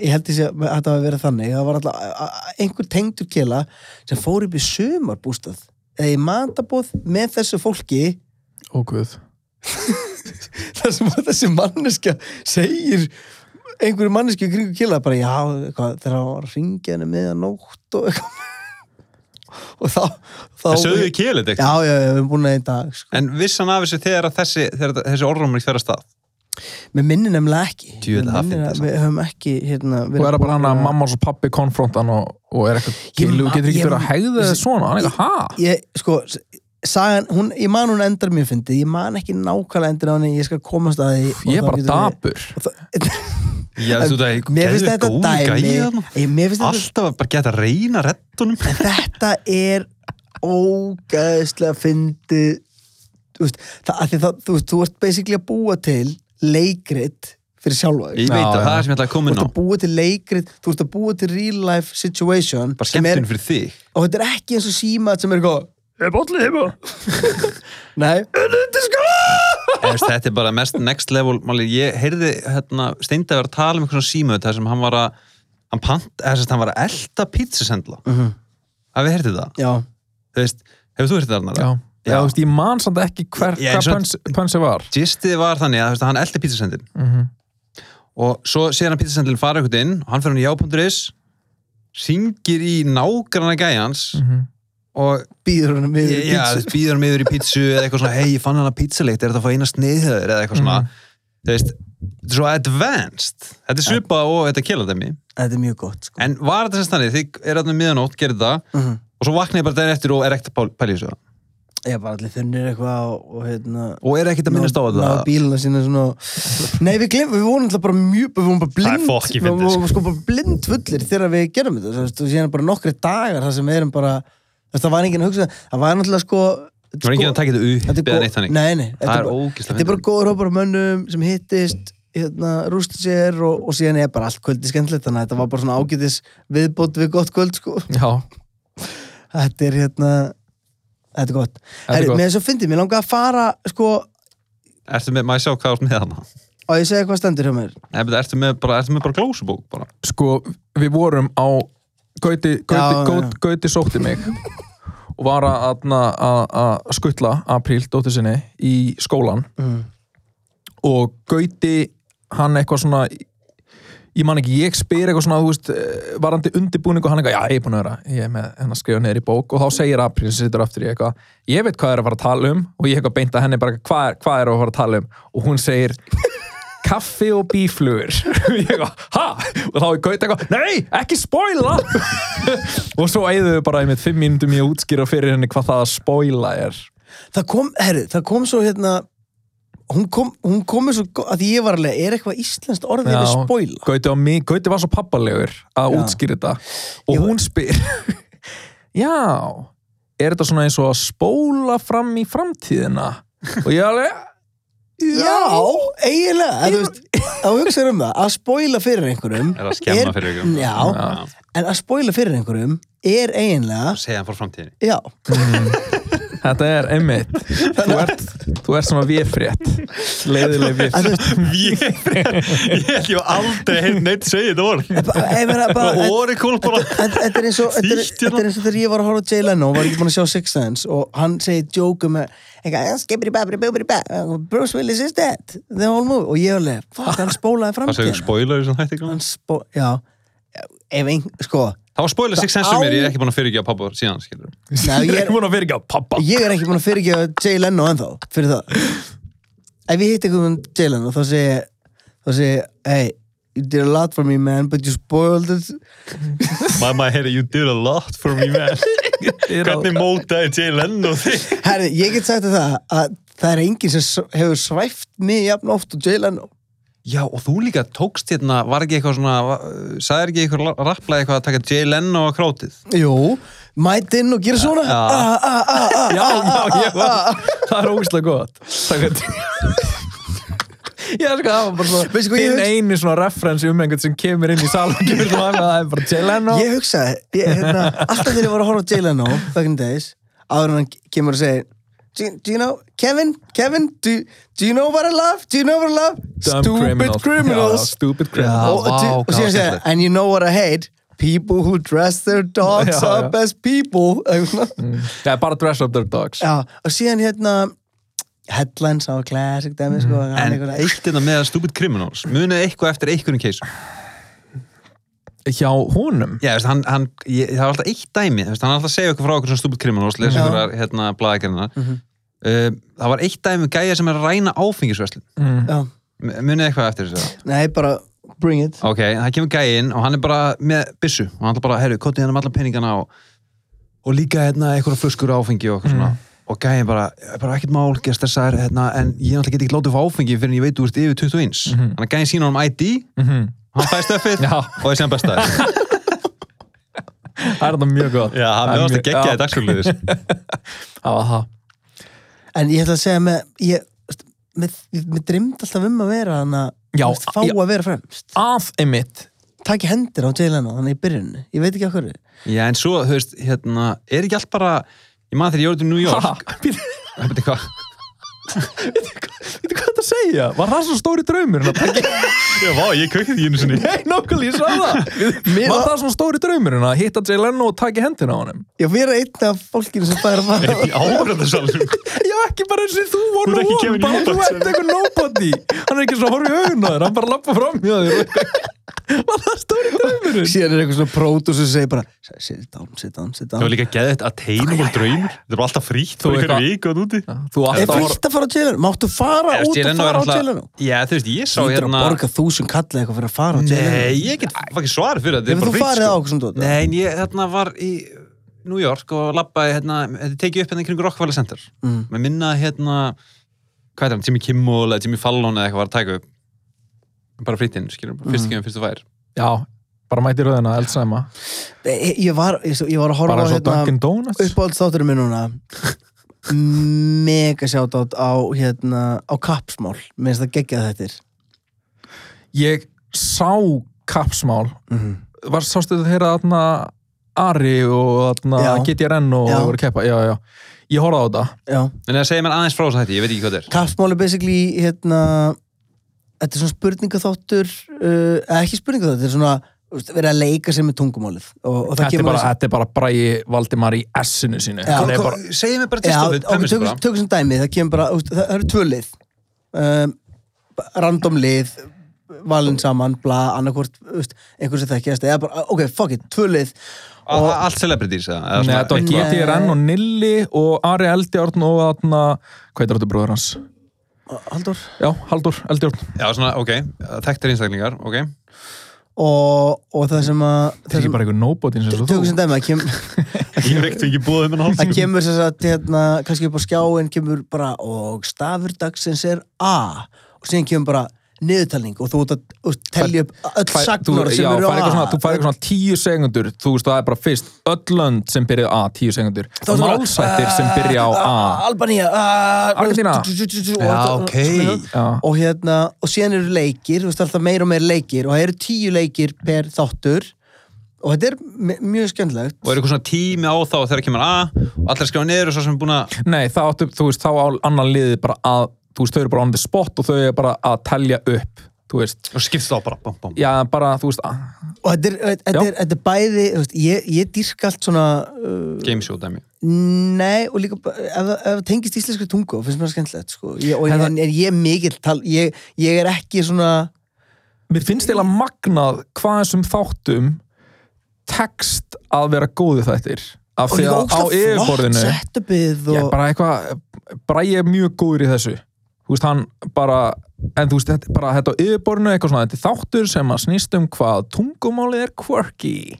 B: ég held þessi að þetta var að vera þannig það var alltaf einhver tengdur kila sem fór upp í sumarbústað eða í matabóð með þessu fólki
A: Ó guð.
B: þar sem að þessi manneska segir einhverju manneski í kringu killa bara já, eitthvað, þegar hann var að ringja henni meðan nótt og eitthvað og þá, þá
C: Það sögðu í kýlið
B: Já, já, já, við erum búin að einn dag sko.
C: En vissan af þessu þegar að þessi, þegar þetta- þessi orðrumur ekki fer að stað
B: Mér minnir nefnilega ekki
C: Djöfull,
B: Mig minnir
C: það fyndið
B: að
C: samt.
B: Við höfum ekki hérna,
A: Og er það bara hann að mamma og pappi konfrontan og, og er eitthvað
B: Ég
A: kilu,
B: man-
A: getur ekki
B: ég
A: verið að
B: man-
A: hegða þið svona, hann er eitthvað, ha?
B: ég, sko, s- sagan, hún, ég man hún endar mér fyndið Ég man ekki nákvæmlega endur á henni Ég skal komast að því og
A: Ég er
B: þá
A: bara
B: getum við-
A: dapur.
B: og þá-
C: Já, þú veit
B: Mér
C: að
B: finnst þetta dæmi Ég- Mér finnst þetta
C: Alltaf að bara geta að reyna rettunum
B: En þetta er ógæðslega fyndi þú veist, það, af því það, þú, veist, þú ert basically að búa til leikrit fyrir sjálfa þig.
C: Ég veit að
A: Já,
C: það
A: já.
C: er sem ég ætla að
B: þú
C: koma inn
B: ert
C: á
B: að búa til leikrit þú ert að búa til real life situation
C: Bara
B: sem er,
C: skemmtun fyrir þig
B: og þetta er ekki eins og símat sem er eitthvað er bollið heima nei, þetta er sko
C: Þú veist, Þetta er bara mest next level Máli, Ég heyrði hérna, Steindi að vera að tala um eitthvað svona símöð þar sem hann var að hann, pant, eða, sem sagt, hann var að elda pítsusendla Hafið þið heyrtið það?
B: já,
C: Þú veist, hefur þú heyrtið það?
A: Já.
C: Arnar?
A: Já, þú veist, ég man samt ekki hver,
C: Ég- ég
A: hvað
C: samt-
A: pönsi, pönsi var.
C: Gistið var þannig að þú veist, hann eldi pítsusendin
A: Mhm.
C: og svo sér hann pítsasendlinn fara eitthvað inn og hann fer hann í já.is syngir í nágranna gæjans
A: Mhm.
C: og
B: býður hann með
C: já,
B: pítsu.
C: býður hann yfir í pítsu eða eitthvað svona, hei, ég fann hann að pítsuleikt er þetta að fá eina sniðhjöður eða eitthvað svona þú veist, þetta er svo advanced þetta er svipað og þetta kjelademi
B: þetta er mjög gott sko.
C: en var þetta sem stannig, þið er hann miðanótt gerði það
B: Mhm.
C: og svo vaknaði bara daginn eftir og er ekkert að pál- pæla í þessu
B: ég er bara allir þunnir eitthvað og, og hérna
C: og er ekkert að minnast á
B: Ná
C: þetta
B: bíluna sína svona Nei, við glemum, við vorum alltaf bara mjög Við vorum bara
C: Það er
B: blind
C: fokki
B: Við
C: fyndið,
B: vorum sko bara blind fullir þegar við gerum þetta þú veist, Og síðan bara nokkri dagar þar sem við erum bara þú veist, Það var enginn að hugsa Það var náttúrulega sko
C: það var enginn að taka þetta
B: þetta
C: upp
B: er
C: eða
B: gó-
C: neitt þannig
B: Nei, nei, þetta
C: það er
B: bara-
C: ógislega
B: Þetta er bara
C: fyndið.
B: góður hópar af mönnum sem hittist hérna, rústin sér og, og síðan er bara allt kvöldi skemmtilegt þannig að þetta var bara svona ágætis viðbót við gott kvöld sko
A: Já,
B: Þetta er hérna Þetta er gott
A: þetta er
B: Herri,
A: gott.
B: með þess að fyndi, mér langar að fara sko
C: ertu með, maður sjá hvað átt með hana
B: og ég segja hvað stendur hjá mér
C: Nei, betur, ertu með bara, ertu með bara glósubók bara?
A: sko, við vorum á Gauti, Gauti,
B: Já,
A: Gauti,
B: já.
A: Gauti sótti mig og var að, að, að, að skuttla apríl dóttir sinni í skólan
B: mm.
A: og Gauti, hann eitthvað svona ég man ekki, ég spyr eitthvað svona þú veist, eh, varandi undirbúning og hann eitthvað, já, ég er búin að vera, ég er með henn að skrifa neður í bók og þá segir Apríl sem situr aftur í eitthvað ég veit hvað er að fara að tala um og ég eitthvað beint að henni bara, hvað er, hvað er að fara að tala um og hún segir kaffi og bíflugur og ég eitthvað, ha? og þá er Gauti eitthvað, nei, ekki spoila og svo eigðuðu bara einmitt fimm mínútum í að útskýra fyrir henni hvað það að spoila er
B: það kom, herru, það kom svo hérna hún kom, hún kom með svo go- að því ég var alveg, er eitthvað íslenskt orðið
A: Já.
B: við spoila?
A: Gauti, var mi- Gauti var svo pappalegur að
B: Já.
A: útskýra þetta og
B: Ég var-
A: hún spyr Já, er þetta svona eins og að spóla fram í framtíðina? Og ég alveg
B: Já, eiginlega að, þú veist, að hugsa um það, að spoila fyrir einhverjum
C: Er að skemma fyrir ykkur?
B: Já, en að spoila fyrir einhverjum er eiginlega,
C: Segja hann frá framtíðinni.
B: já
A: Þetta er einmitt Þú ert, þú ert svona véfrétt Leiðileg
B: að
A: véfrétt
B: þú veist,
C: Ég held ég aldrei heilt neitt segið þetta orð.
B: bara- ég meina bara
C: Oracle bara.
B: Þetta þetta er eins og þetta er,
C: Þýtt hérna.
B: þetta er eins og þegar ég var að horfa á Jay Leno og var ekki búin að sjá Six Sense og hann segir djóku með eitthvað, skipir í bæ, bæ, bæ, Bruce Willis is dead the whole movie og ég alveg, fuck, hann spólaði
C: Það segir
B: framtíðina
C: spoiler sem hætti
B: hann
C: grann.
B: spó, já ef ein, sko,
C: Það var spoiler six sense
B: á-
C: um mér, ég er ekki búin að fyrirgefa pappa síðan, skilur.
B: Nei, ég
A: ég
B: er-
A: er múin að vera ekki að pappa
B: Ég er ekki búin að fyrirgefa Jay Leno ennþá fyrir það Ef ég hitt eitthvað um Jay Leno þá segi ég- þá segi ég, hey, you did a lot for me man but you spoiled it
C: My, my, hey, you did a lot for me, man.
A: er á-
C: Hvernig mótaði Jay Leno þig?
B: Herri, ég get sagt þér það að það er enginn sem s- hefur svæft mig jafn oft og Jay Leno
C: Já, og þú líka tókst hérna, var ekki eitthvað svona, va- sagði ekki eitthvað rapplaði eitthvað að taka Jay Leno á krótið?
B: Jú, mæti inn og gera svona
C: Já.
B: ah, ah, ah, ah.
A: Já, já, ég var Það er ógislega gott Takk að Já, sko, það var bara svona
B: Veistu hvað ég
A: Þinn
B: hugsa-
A: eini svona referensi um einhvern sem kemur inn í sal og kemur þú að það er bara Jay Leno
B: Ég hugsaði, ég, hérna, alltaf þegar ég var að horfa á Jay Leno back in the days, áður en hann kemur og segir Do you, do you know, Kevin, Kevin, do, do you know what I love? Do you know what I love?
A: Dumb
B: Stupid
A: criminals. Já,
B: criminals.
A: Stupid criminals
B: og, og,
C: vá,
B: og
C: hvað
B: síðan
C: var
B: segir,
C: skemmtilegt.
B: and you know what I hate? People who dress their dogs
A: Já, já.
B: up as people. Mm.
A: Já, bara dress up their dogs
B: Já, og síðan hérna, headlines á classic dæmi, sko, hann
C: En
B: einhvern
C: eitt þetta með Stupid Criminals, munið eitthvað eftir einhverjum keisum.
A: Hjá honum
C: Já, veist, hann, hann, ég, það var alltaf eitt dæmi veist, hann er alltaf að segja okkur frá okkur svona stúpid kriminals lesa
B: Já.
C: ykkur hérna blæðakernina mm það var eitt dæmi um gæja sem er að ræna áfengisverslun
B: Já,
C: M- munið eitthvað eftir þessu
B: nei, bara bring it.
C: ok, það kemur gæjinn og hann er bara með byssu og hann er bara, herru, kotið hann um alla peningana og, og líka hérna eitthvað flöskur af áfengi og okkur svona og gæjinn bara, bara ekkert mál, gerst þessar hérna, en ég náttúrulega get ekki látið fyrir áfengi fyrir en ég veit þú ert yfir 21 mm -hmm. þannig að gæjinn sína honum ID hann fæði stöfið
A: Já.
C: og þessi hann besta
A: Það er þetta mjög gott
C: já, hann
A: Það
C: er
A: er
C: alltaf
A: mjög-
C: geggjaði sko.
A: Já.
C: dagsfjörliðis
A: Það var það
B: En ég ætla að segja með, ég, veist, með, með dreymd alltaf um að vera hann að
A: Já,
B: þú veist, fá
A: já.
B: að vera fremst.
A: Að einmitt
B: Takk í hendir á Jay Leno, hann í byrjunni. Ég veit ekki okkur.
C: Já, en svo, þú veist, hérna, er ekki allt bara, ég maður þegar ég voru til New York,
A: Ha, býttu
C: það betur hvað,
A: býttu hvað þetta segja Var það svo stóri draumur hérna að taka
C: já, vá, ég kveikið því einu sinni.
A: Nei, nokkul, ég sá það
B: Mér-
A: Var það svona stóri draumur hérna að hitta Jay Leno og taka hendina á honum
B: Ég vera einn af fólkinu sem fæður að fara.
C: Í áhverjandarsalum.
A: Já, ekki bara eins og þú von
C: Þú ert
A: og
C: ekki
A: von,
C: Kevin
A: bara þú
C: Newman,
A: ert eitthvað nobody Hann er ekki svo að horfa í augun á þér, hann bara lappa fram hjá þér og- Var það stóri draumurinn?
B: Síðan er eitthvað svona pródús sem segir bara, sit down, sit down, sit
C: Það var
B: down.
C: líka geðið að teina bara draumur, þetta var alltaf frítt,
A: Þú
C: Sko, þú
A: veist
C: veist,
A: það-
C: viku og úti.
A: Þú
B: Er
A: alltaf að horfa
B: frítt að fara á Jay Leno? Máttu fara út og fara á Jay Leno?
C: já, þú veist, ég sá
B: Þú ert að
C: hérna,
B: borga þúsund kalla eitthvað fyrir að fara á Jay Leno.
C: nei, ég get ekki svarið fyrir þetta,
B: Hefur þú farið á okkur svona dót?
C: sko. Nei, en ég, hérna, var í New York og labbaði, hérna, þetta tekið upp hérna í kring Rockefeller Center,
B: Mm.
C: með minna, hérna, hvað er hann, Jimmy Kimmel eða Jimmy Fallon eða eitthvað var að taka upp, bara frítinn, skilur, fyrstu kemur, fyrstu fær.
A: Já, bara mæti röðina, eldsæma
B: Ég ég var, ég ég var að horfa
A: Bara
B: á
A: eins og
B: hérna...
A: Dunkin Donuts
B: uppáhaldsþátturinn minn núna mega sjátátt á hérna, á kapsmál minnst það geggjað þettir
A: Ég sá kapsmál
B: mm -hmm.
A: Var sástu þetta þeirra þarna Ari og
B: Já.
A: þarna GTRN og
B: Já.
A: það voru að keppa Já, já, ég horfaði á þetta
B: já,
C: En það segir mér aðeins frá þess að þetta, ég veit ekki hvað þetta er.
B: kapsmál er basically hérna, þetta er svona spurningaþáttur uh, eða ekki spurningaþáttur, þetta er svona þú veist, verið að leika sér með tungumálið og, og það
A: Þetta er
B: kemur
A: bara, þetta er bara bræði Valdimar í S-inu sínu
B: Já.
A: Hann er bara,
C: Segir mér bara
B: Já,
C: tilstofið,
B: ok,
C: pömmis
B: tökum,
C: bara.
B: tökum sem dæmi, það kemur bara, úst, það eru tvö lið um, random lið valin saman, bla, annarkvort einhvern sem þekkjast, eða bara, ok, fuck it tvö lið
C: A- a- Allt celebrities eða? eða
A: Nei,
C: svona
A: þetta var
C: eitthvað.
B: Nei.
A: GTRN og Nilli og Ari Eldjárn og þarna, hvað er þetta bróður hans?
B: Haldur
A: Já, Haldur Eldjárn.
C: Já, svona, ok, þekktir einstaklingar, ok.
B: og, og það sem að
A: Þetta
B: það
A: er
B: sem,
A: bara einhver nobody eins og þú.
B: tökum sem dæmi það kem,
C: Ég hef ekkert ekki búið um en hálf.
B: það kemur sem sagt hérna, kannski upp á skjáin kemur bara og stafur dagsins er A og síðan kemur bara niðurtalning og þú ert að og telja upp öll
A: Fær- þú-
B: sagnar
A: já,
B: sem eru
A: fær eitthvað
B: á
A: svona-
B: A
A: Þú fær eitthvað svona tíu segundur, þú veist það er bara fyrst öll lönd sem byrja á A, tíu segundur.
B: Þá ertu bara,
A: Málsættir sem byrja á
B: "Ah,
A: A.
B: ah, Albanía ah,
A: Argentína."
B: og þetta-
C: Já,
B: og
C: ok.
B: svona.
A: Já.
B: og hérna og síðan eru leikir, þú veist alltaf meira og meira leikir og það eru tíu leikir per þáttur og þetta er me- mjög skemmtilegt
C: Og er eitthvað svona tími á þá þegar kemur A og allir skrifa niður og svo sem er búin að...
A: Nei, þá áttu, þú veist, þá á annan liði bara að, þú veist, þau eru bara on the spot og þau eru bara að telja upp, þú veist.
C: Og skipst þá bara, bom, bom.
A: Já, bara, þú veist, að,
B: og þetta er, þetta
A: Já.
B: er, þetta er bæði þú veist, ég, ég dýrka allt svona uh,
C: Gameshow dæmi.
B: nei og líka bara- ef, það- ef það tengist íslenskri tungu finnst mér það skemmtilegt sko. ég, og,
A: En það-
B: en, en ég er mikill tal, ég, ég er ekki svona
A: mér finnst eiginlega magnað hvað þessum þáttum tekst að vera góðu þættir af
B: og
A: því
B: líka
A: að á
B: ógsta flott
A: yfirborðinu
B: setupið
A: ég,
B: og
A: bara eitthvað, Bræði er mjög góður í þessu þú veist hann bara en þú veist þetta, bara þetta á yfirborðinu eitthvað svona þetta er þáttur sem að snýst um hvað tungumálið er quirky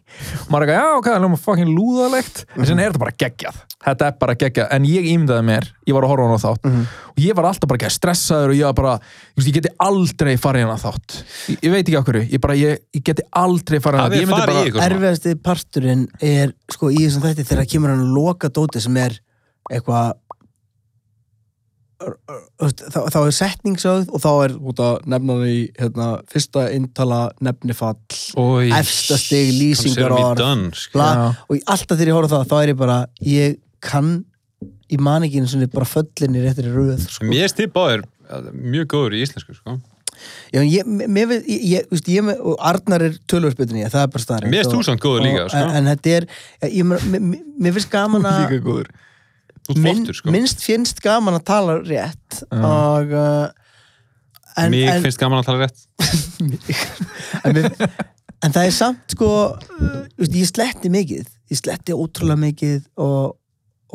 A: og maður er eitthvað, já ok, það er ljóma fucking lúðalegt en sen er þetta bara geggjað þetta er bara geggjað, en ég ímyndaði mér ég var að horfa á hana þátt og ég var alltaf bara ekki stressaður og ég var bara, ég, veist, ég geti aldrei farið í hana þátt ég, ég veit ekki okkur, ég bara, ég, ég geti aldrei farið í hana
C: Hafið
A: Ég
C: þið
A: myndi
C: farið í
A: bara-
C: ykkur svona?
B: erfiðasti parturinn er sko í þessum þætti þegar kemur hann loka dóti sem er eitthvað Þú veist, þá, þá er setningsögð og þá er út að nefna hann í hérna, fyrsta intala nefnifall
A: Oj.
B: efsta stig lýsingar
C: Consider me
B: orð
C: done, sko. skilurðu.
B: bla,
A: Já.
B: og í alltaf þegar ég horf það þá er ég bara, ég kann í maninginu sem er bara föllinni réttir í röð sko.
C: Mér stið báðir eh, mjög góður í íslensku sko.
B: Já, en ég, mér, veit- ég, ég, úst, ég með, og Arnar er tölvörsbytun ég, það er bara staðar
C: Mér erst þú samt góður líka, sko.
B: en, en þetta er, ég, ég, meina, mér- mér- mér finnst gaman að
A: líka góður
C: Þú ert flottur sko.
B: minnst finnst gaman að tala rétt og uh, en,
C: Mér
B: en,
C: finnst gaman að tala rétt
B: en, við, en það er samt sko uh, veist, ég sletti mikið ég sletti ótrúlega mikið og,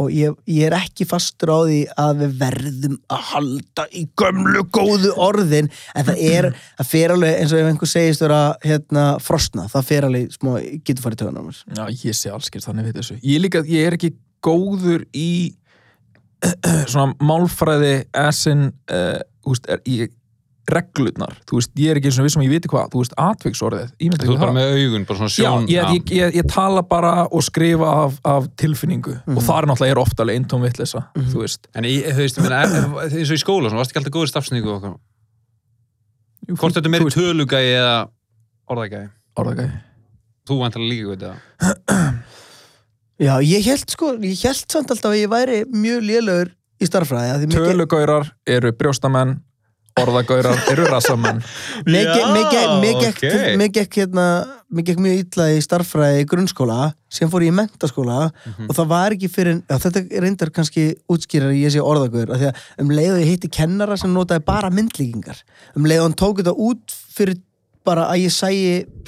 B: og ég, ég er ekki fastur á því að við verðum að halda í gömlu góðu orðin en það er, það fer alveg eins og ef einhver segist vera hérna frosna, það fer alveg smá, getur farið töðan á mér
A: Já, ég sé allskert þannig við þessu. Ég, líka, ég er ekki góður í svona málfræði esin, uh, úst, er, ég, reglurnar, þú veist, ég er ekki svona vissum að ég viti hvað, þú veist, atviksorðið, ég myndi
C: Þú
A: ekki
C: ert bara með augun, bara svona
A: Já,
C: sjón
A: ég, ég, ég, ég tala bara og skrifa af, af tilfinningu og það er náttúrulega, ég er oftalega eintóm vitleysa, þú veist.
C: En ég, þú veist, ég meina, er- er- eins og í skóla, svona, varst ekki alltaf góður í stafsningu og okkur
A: Jú,
C: Hvort þetta er
A: þú
C: meiri
A: veist,
C: tölugæði eða orðagæði?
A: Orðagæði.
C: Þú vantilega líka góð þetta
B: Já, ég held sko, ég held samt alltaf að ég væri mjög lélögur í starffræði af því mér ge-
A: Tölugaurar eru brjóstamenn, orðagaurar eru rassamenn.
B: Mér
C: Já,
B: gekk- mér gekk- mér gekk
C: ok.
B: til- mér gekk hérna mér gekk mjög illa í starffræði í grunnskóla sem fór ég í mentaskóla
C: Mhm.
B: og það var ekki fyrir, já, þetta reyndar kannski útskýrar ég sé orðagur af því að um leið og ég hitti kennara sem notaði bara myndlíkingar, um leið og hann tók þetta út fyrir bara að ég sæi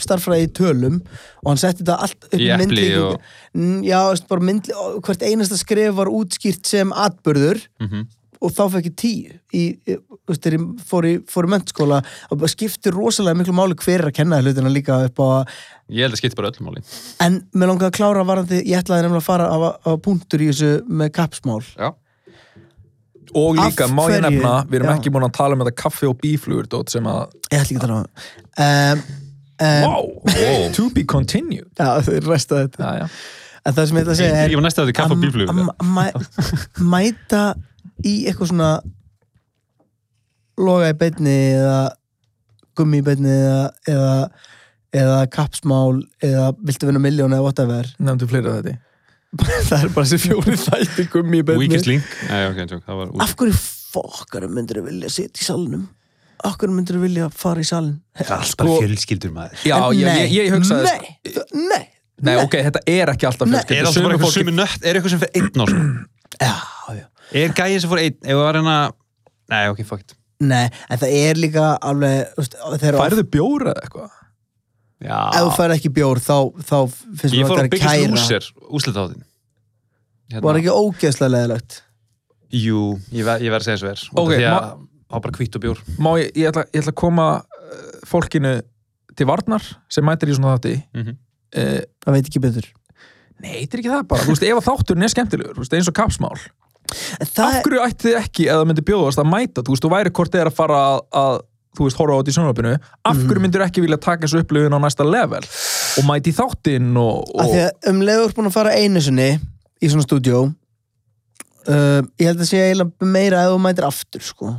B: starffræði í tölum og hann setti þetta allt upp
C: Í epli
B: myndlíkingar
C: og-
B: Mm, já, veist, bara myndli, hvert einasta skref var útskýrt sem atbörður
C: Mhm.
B: og þá fekk ég tíu í, í, veist, þegar ég fór í, fór í mennskóla og bara skipti rosalega miklu máli hver er að kenna þér hlutina líka upp á
C: Ég held að skipta bara öllu máli
B: en mér langaði að klára varandi ég ætlaði nefnilega að fara á, á punktur í þessu með kappsmál
C: Já,
A: Og
B: Af
A: líka, má ég
B: hverju?
A: nefna, við erum
B: Já.
A: ekki búin að tala um þetta kaffi og bíflugur, dót, sem að
B: ég ætla ekki að tala um það um, um,
A: Wow. To be continued
B: já, þau restaði þetta
A: já, já.
B: en það sem ég ætla að segja er
C: ég var næsta að þetta er kaffa
B: að-
C: bíflug
B: að mæ- mæta í eitthvað svona loga í beinni eða gummi í beinni eða, eða, eða kappsmál eða viltu vinna miljón eða whatever
A: Nefndu fleira þetta
B: það er bara þessi fjóri þætti gummi í
C: Weakest
B: beinni
C: link Nei, ok, tjók, það var
B: af hverju fokkarum myndir að vilja sitja í salnum af hverju myndir að vilja fara í salin sko-
C: Alltaf fjölskyldur maður
A: Já, ég, ég, ég hugsaði sko-
B: nei, þ- nei,
A: Nei, ok, þetta er ekki alltaf
B: Nei.
A: fjölskyldur
C: Er alltaf
A: Sumir
C: bara eitthvað
A: fólki-
C: sumi nött Er eitthvað sem fyrir einn á svona
B: já, já
C: Er gæið sem fyrir einn Ef það var hérna Nei, ok, fuck it
B: Nei, en það er líka alveg þú veist, þegar oft-
A: Færðu bjóra eða eitthvað
B: ef þú
C: Já
B: færð ekki bjór þá, þá finnst
C: Ég
B: mér að það
C: fór að
B: er
C: byggja
B: kæra
C: slúser Úslita á Hérna- þinn
A: Hérna.
B: var ekki ógeðslega leðilegt
C: Jú, ég ver- ég verð að segja svo er
A: Ok,
C: Því að
A: ma-
C: Það var bara hvitt og bjór
A: Má ég, ég, ætla, ég ætla að koma uh, fólkinu til varnar sem mætir í svona þátti
C: Mhm.
A: uh,
B: það veit ekki betur
A: Nei, þetta er ekki það bara Þú veist, ef að þátturinn er skemmtilegur, þú veist, eins og kapsmál
B: En það,
A: Af hverju ætti þið ekki, eða myndi bjóðast að mæta Þú veist, þú væri hvort þið er að fara að, að þú veist, horfa á þetta í sjónvarpinu Af hverju myndir ekki vilja taka þessu upplifun á næsta level og mæti þáttinn og,
B: af því
A: og...
B: að um leiður búin að fara einu sinni í svona stúdjó uh, ég held að sé eiginlega meira ef þú mætir aftur sko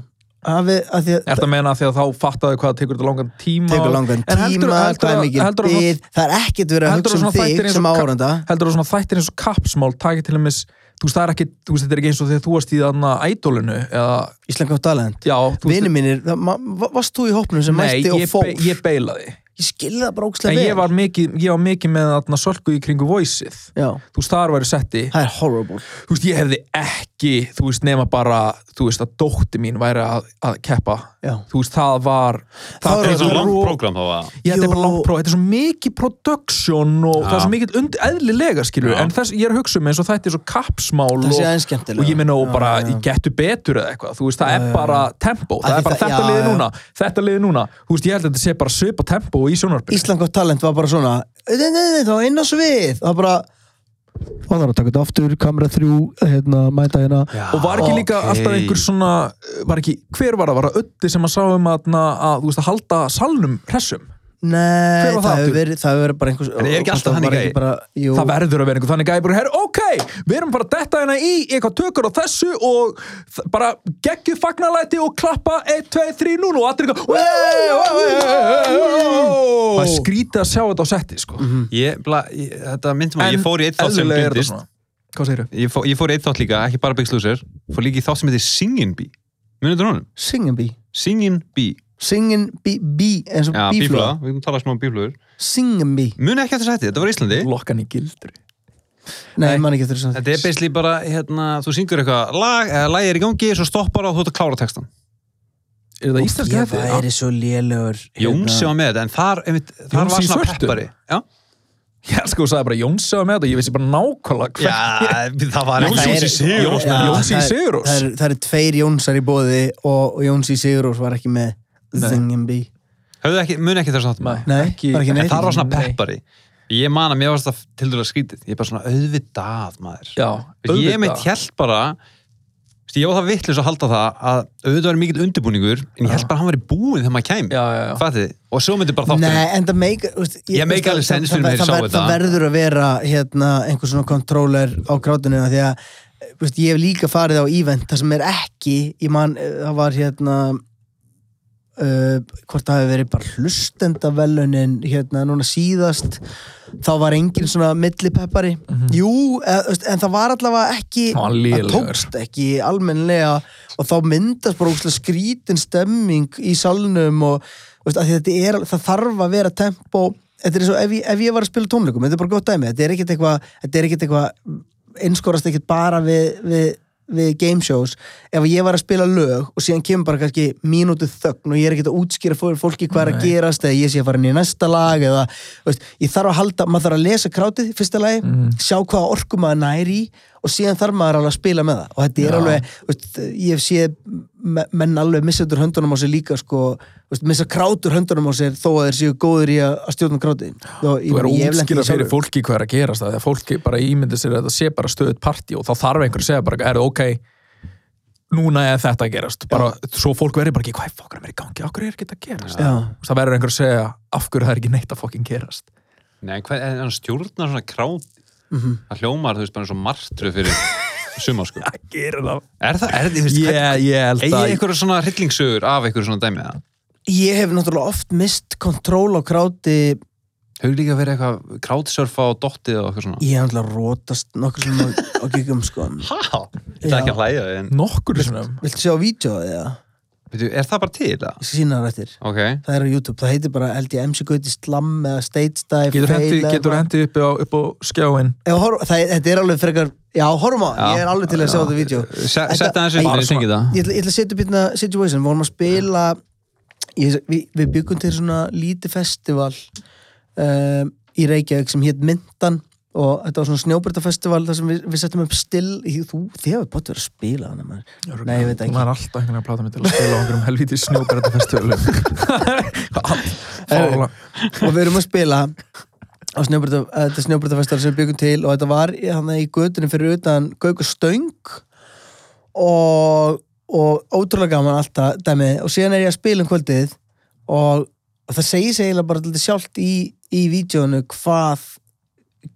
B: af því að, því
A: Er
B: að
A: þetta að meina af því að þá fattaðu hvað tekur þetta langan tíma
B: tekur langan
A: En
B: tíma,
A: heldur, heldur,
B: hvað er mikil
A: heldur, heldur,
B: bið það er ekkert verið að
A: heldur
B: hugsa um
A: svona þættir
B: þig
A: eins
B: sem
A: og-
B: áhöranda
A: heldur að svona þættir eins og kapsmál takir til dæmis, þú veist það er ekki þú veist þetta er ekki eins og þegar þú varst í þarna ædolinu eða,
B: Ísland Gátt Talent
A: já, þú
B: vinnu mínir, það- ma- va- varst þú í hópnum sem
A: nei,
B: mætti og
A: ég,
B: fór
A: be, ég beilaði
B: ég skilði það bara
A: en
B: ókslega
A: ég var mikið, ég var mikið með þarna sölku í kringu voice-ið
B: Já,
A: þú veist, þar væri setti
B: það er horrible
A: þú veist, ég hefði ekki, þú veist, nema bara þú veist, að dótti mín væri að, að keppa,
B: Já,
A: þú veist, það var
B: Það var
C: Það er svo
B: Þetta
C: langt
A: ro-
C: prógram þá að
A: Ég, þetta er bara
B: Jú.
A: langt próf, þetta er svo mikið production og
C: Já.
A: það er svo mikið und, eðlilega skilur,
C: Já.
A: en þess, ég er að hugsa um eins og þetta er svo kapsmál
B: það
A: og,
B: sé aðeins skemmtilega
A: og ég minna og
B: Já,
A: bara
B: já.
A: ég getur betur eða eitthvað, þú veist, það
B: Já,
A: er
B: já,
A: bara tempo,
B: Af
A: það
B: því
A: er bara
B: það-
A: þetta
B: já,
A: liði
B: já.
A: núna, þetta liði núna þú veist, ég held að þetta sé bara svipa tempo í sjónarbyr
B: Ísland gott talent var bara svona "Nei, nei, nei, þá inn á svið það var bara og það er að taka þetta aftur, kamera þrjú hérna, mæta hérna
A: og var ekki líka
C: ok.
A: alltaf einhver svona var ekki, hver var það, var það ötti sem að sáum að, að, þú veist, að halda salnum hressum,
B: Nei,
A: Hver var það
B: það hefur
A: aftur?
B: verið, það hefur verið bara einhvers
C: En er ekki alltaf
B: það var
C: þannig
B: ekki
C: gæi?
B: bara, jú,
A: það verður að vera einhver þannig að ég bara, herru, ok, við erum bara að detta hérna í eitthvað tökur á þessu og þ- bara geggju fagnalæti og klappa 1, 2, 3, núna og allir eitthvað "Wey, wey, wey, wey." það er skrítið að sjá þetta á setti sko.
C: Ég, bla, ég, þetta myndi maður, Mhm. ég fór í eitt þátt sem
A: eðlilega er þetta
C: bindist
A: svona. hvað segir
C: ég, fó, ég fór í eitt þátt líka, ekki bara Big Loser fór líka í þátt sem heitir Singin' Bee munið þú honum?
B: singin bee
C: Singin' Bee
B: singin bee, bee, eins og
C: Já,
B: bíflöða
C: bíflöða, við erum talað smá um bíflöður
B: singin bee,
C: munið ekki eftir sætti, þetta var í Íslandi
A: lokkan í gildri
B: nei,
C: Nei.
B: nei. man ekki eftir þessu
C: Þetta er basically bara, hérna, þú syngur eitthvað lag, eða lagi er í gangi, svo stoppar og þú ert að klára textan.
A: er það íslenska
B: ég
A: þetta?
B: væri svo hérna. lélögur
C: Jónsi var með þetta, en þar, einmitt, þar
A: Jónsi
C: var
A: í
C: svona
A: svörtu?
C: peppari. Já,
A: Já, sko, þú sagði bara Jónsi var með þetta, ég vissi bara nákvæmlega hver-
C: Já Ah, það var
A: Jónsi
C: ekki-
A: í Sigurós,
B: Já,
A: maður. Jónsi í
B: það er-
A: Sigurós.
B: það er- það eru tveir Jónsar í bóði og og Jónsi Sigurós var ekki með
A: Nei.
B: singin bee
C: Höfðu ekki, munið ekki þess aftur.
A: Nei,
B: Nei,
A: ekki-
B: var ekki
C: En
B: neitt.
C: þar var svona
A: Nei.
C: peppari. Ég man að mér var þetta til dæla skrítið. Ég er bara svona auðvitað, maður.
A: Já,
C: Veist, Ég
A: auðvitað.
C: mitt held bara, veist, ég var það vittlis að halda það að auðvitað var mikill undirbúningur, en ég held bara að hann var í búin þegar maður
A: Já,
C: kæmi.
A: já, já.
C: Fattið þið? Og svo myndi bara þátturinn.
B: Nei, en það meikar úst,
C: Ég meika alveg sens fyrir mér að sjá þetta.
B: Það verður að vera hérna, einhver svona kontróler á grátinu af því að úst, ég hef líka farið á event það sem er ekki ég man, eh, það var hérna uh, hvort það hefur verið bara hlustendavelunin hérna núna síðast þá var engin svona millipeppari
C: Mhm.
B: Jú, eð, veist, en það var allavega
A: Hann
B: ekki
A: var
B: það
A: lélegur.
B: tókst ekki almennilega og þá myndast bara úrslega skrítin stemming í salnum og veist, að þetta er, al- það þarf að vera tempo þetta er eins og ef ég, ef ég var að spila tónleikum þetta er bara gott dæmi, þetta er ekkit eitthvað þetta er ekkit eitthvað, einskorast ekkit bara við, við við game shows ef ég var að spila lög og síðan kemur bara kannski mínútu þögn og ég er ekkert að útskýra fyrir fólki hvað er að gerast eða ég sé að fara inn í næsta lag eða, veist, ég þarf að halda, maður þarf að lesa krátið í fyrsta lagi, sjá hvaða orku maður næri í og síðan þarf maður alveg að spila með það og þetta er
A: Já.
B: alveg, veist, ég hef séð me- menn alveg missa út úr höndunum á sér líka sko, veist, missa krátur höndunum á sér þó að þeir séu góður í að að stjórna krátið og ég,
A: Þú er
B: ég hef lent í því
A: útskýrað fyrir
B: sjálfur.
A: fólki hvað er að gerast það, þegar fólki bara ímyndir sér að þetta sé bara stöðut partí og þá þarf einhver að segja bara, er það ok núna er þetta að gerast bara, svo fólk verður bara ekki, hvað er fokkar mér í gangi okkur er ekki þetta að gerast
B: Já.
A: það verður einhver að segja, af hverju það er ekki neitt að fokkin gerast
C: Nei, hvað, en hann stjórnar svona kráti
A: Mhm.
C: Það hljómar, þú veist, bara eins og martru fyrir suma, sko
A: það gerir það
C: Er það, er það, þú veist,
A: ég, ég held
C: Egið
A: að
C: ykkur svona hryllingssögur af ykkur svona dæmið það?
B: ég hef náttúrulega oft mist kontról á kráti
C: Hefur líka verið eitthvað krátsörfa og dottið og eitthvað svona
B: Ég hef náttúrulega rótast nokkur sem á giggum sko
C: Há? Það er ekki að hlæja, en
A: nokkur svona
B: Viltu sjá vídjóið eða?
C: veitu, er það bara til það?
B: Ég skal sína það eftir
C: Ok,
B: Það er á YouTube, það heitir bara held ég MC Gauti Slam eða Stage Dive
A: getur
B: Fail
A: hendi,
B: eða
A: getur
B: eitthvað.
A: hendi upp á, upp á skjáin
B: Ef horf, það, Þetta er alveg frekar Já, horfum á,
C: Já.
B: ég er alveg til að sjá þetta vídjó
C: Se- setta aðeins upp
B: Bara
C: fyrir syngið það
B: Ég ætla, ég ætla að setja upp hérna situation, við vorum að spila ég, við, við byggum til svona lítið festival um, í Reykjavík sem hétt Myndan og þetta var svona snjóbyrtafestival þar sem við, við settum upp still í- þú, þið hefur bótt verið að spila hana maður. Nei, ég veit ekki.
A: hún er alltaf einhvern veginn að plata mig til að spila á einhverjum helvítið snjókarata festivölu
B: og við erum að spila á snjóbryta- eh, þetta snjóbrytafestival sem við byggum til og þetta var í- þarna í götunni fyrir utan Gaukur Stöng og, og ótrúlega gaman alltaf dæmið og síðan er ég að spila um kvöldið og, og það segir sig eiginlega bara lítið sjálft í, í vídjónu hvað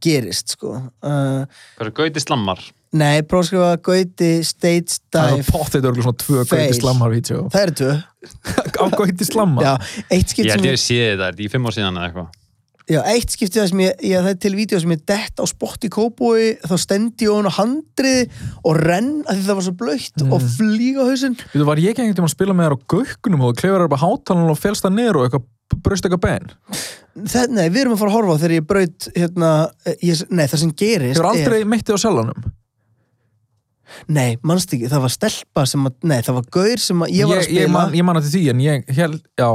B: gerist sko uh,
C: Það eru gauti slammar
B: nei, prófskrifa Gauti Stage
A: það er
B: Dive
A: potið örgulega svona tvö
B: Fail.
A: gauti slammar-vídeó
B: það eru tvö
A: á gauti slamma
B: Já, eitt skipt
C: Ég
B: sem
C: held ég sé þetta, er þetta í fimm ár síðan eða eitthvað
B: Já, eitt skipti það sem ég, ég það er til vídeo sem ég dett á spott í kópói þá stendi ég hún á handrið og renn að því það var svo blöytt og
A: Mm.
B: flýga hausinn
A: Þú var ég ekki einhvern tímann að spila með þér á gökkunum og þú klefur upp á hátalan og félst það niður og eitthvað braust eitthvað ben.
B: það, Nei, við erum að fara að horfa á þegar ég braut hérna, eh, ég, nei, það sem gerist
A: Hefur aldrei
B: er,
A: meitt þig á sjálfanum?
B: Nei, mannst ekki, það var stelpa sem að, nei, það var gaur sem að ég var að
A: ég,
B: spila
A: ég, man, ég man að því en ég held, já,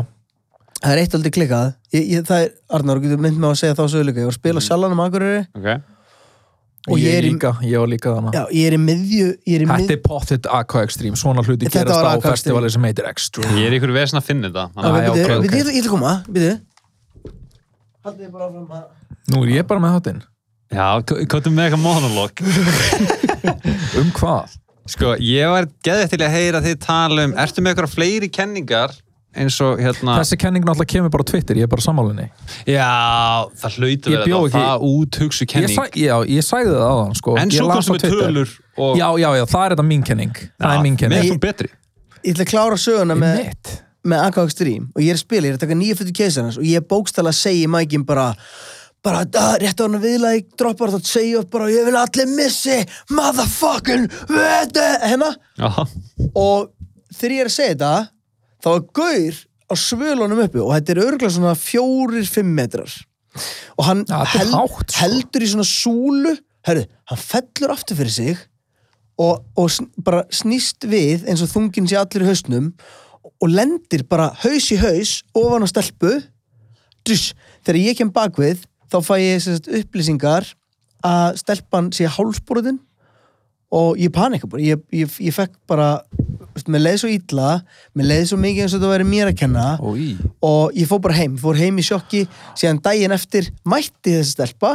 B: Það er eitt aldrei klikkað ég, ég, Það er, Arnar, þú getur mynd með að segja þá söguleika Ég var að spila mm. sjalanum akureyri
C: ok
B: Og ég er í-
A: líka, ég var líka þannig.
B: Já, ég er í miðju ég er í
A: Þetta
B: miðju,
A: er pottet Aqua Extreme, svona hluti
B: Þetta
A: gerast
B: var
A: á
B: Aqua Extreme.
A: festivali sem heitir Extreme.
C: Ég er ykkur vesna að finna þetta
A: Já,
C: þannig
A: já,
C: að-
A: ok,
B: Bíddu,
A: ok.
B: bíddu, Ég ætla að koma, byrju Haldið þið bara áfram að
A: Nú er ég bara með þáttinn.
C: Já, k- komdu með eitthvað monolog
A: Um hvað?
C: Sko, ég var geðið til að heyra þið tala um Ertu með eitthvað fleiri kenningar eins og hérna
A: Þessi kenning náttúrulega kemur bara á Twitter, ég er bara sammálinni.
C: Já, það hlautur
A: Ég
C: verið
A: bjó
C: það,
A: ekki-
C: það út hugsu
A: Ég
C: kenning
A: sa, já, ég sagði það aðan, sko.
C: En
A: Ég
C: svo
A: las
C: komstu
A: á
C: með
A: Twitter.
C: tölur og...
A: Já, já, já, það er þetta mín kenning. Það
C: Já,
A: er mín
C: Mér
A: kenning.
C: er þú betri
B: Ég ætla að klára söguna með,
A: Mitt.
B: með Aqua Extreme og ég er að spila, ég er að taka nýja fyrir keisarnas og ég bókstala að segja í mækinn bara bara, að, rétt á hann að viðla ég droppar þá segja upp bara, ég vil allir missi motherfucking vete hérna,
C: Já,
B: og þegar ég er að segja þetta þá er gaur á svölunum uppi og þetta er örgulega svona fjórir, fimm metrar og hann
A: Ja, þetta er hátt, sko.
B: heldur í svona súlu herru, hann fellur aftur fyrir sig og, og sn bara snýst við eins og þungin sé allir í hausnum og lendir bara haus í haus ofan á stelpu Dush. þegar ég kem bakvið þá fæ ég sem sagt, upplýsingar að stelpan sé hálsbúruðin og ég panika bara ég, ég, ég fekk bara, veist, mér leiði svo illa mér leiði svo mikið eins og þetta væri mér að kenna
A: Ói.
B: og ég fór bara heim, fór heim í sjokki síðan daginn eftir mætti þessi stelpa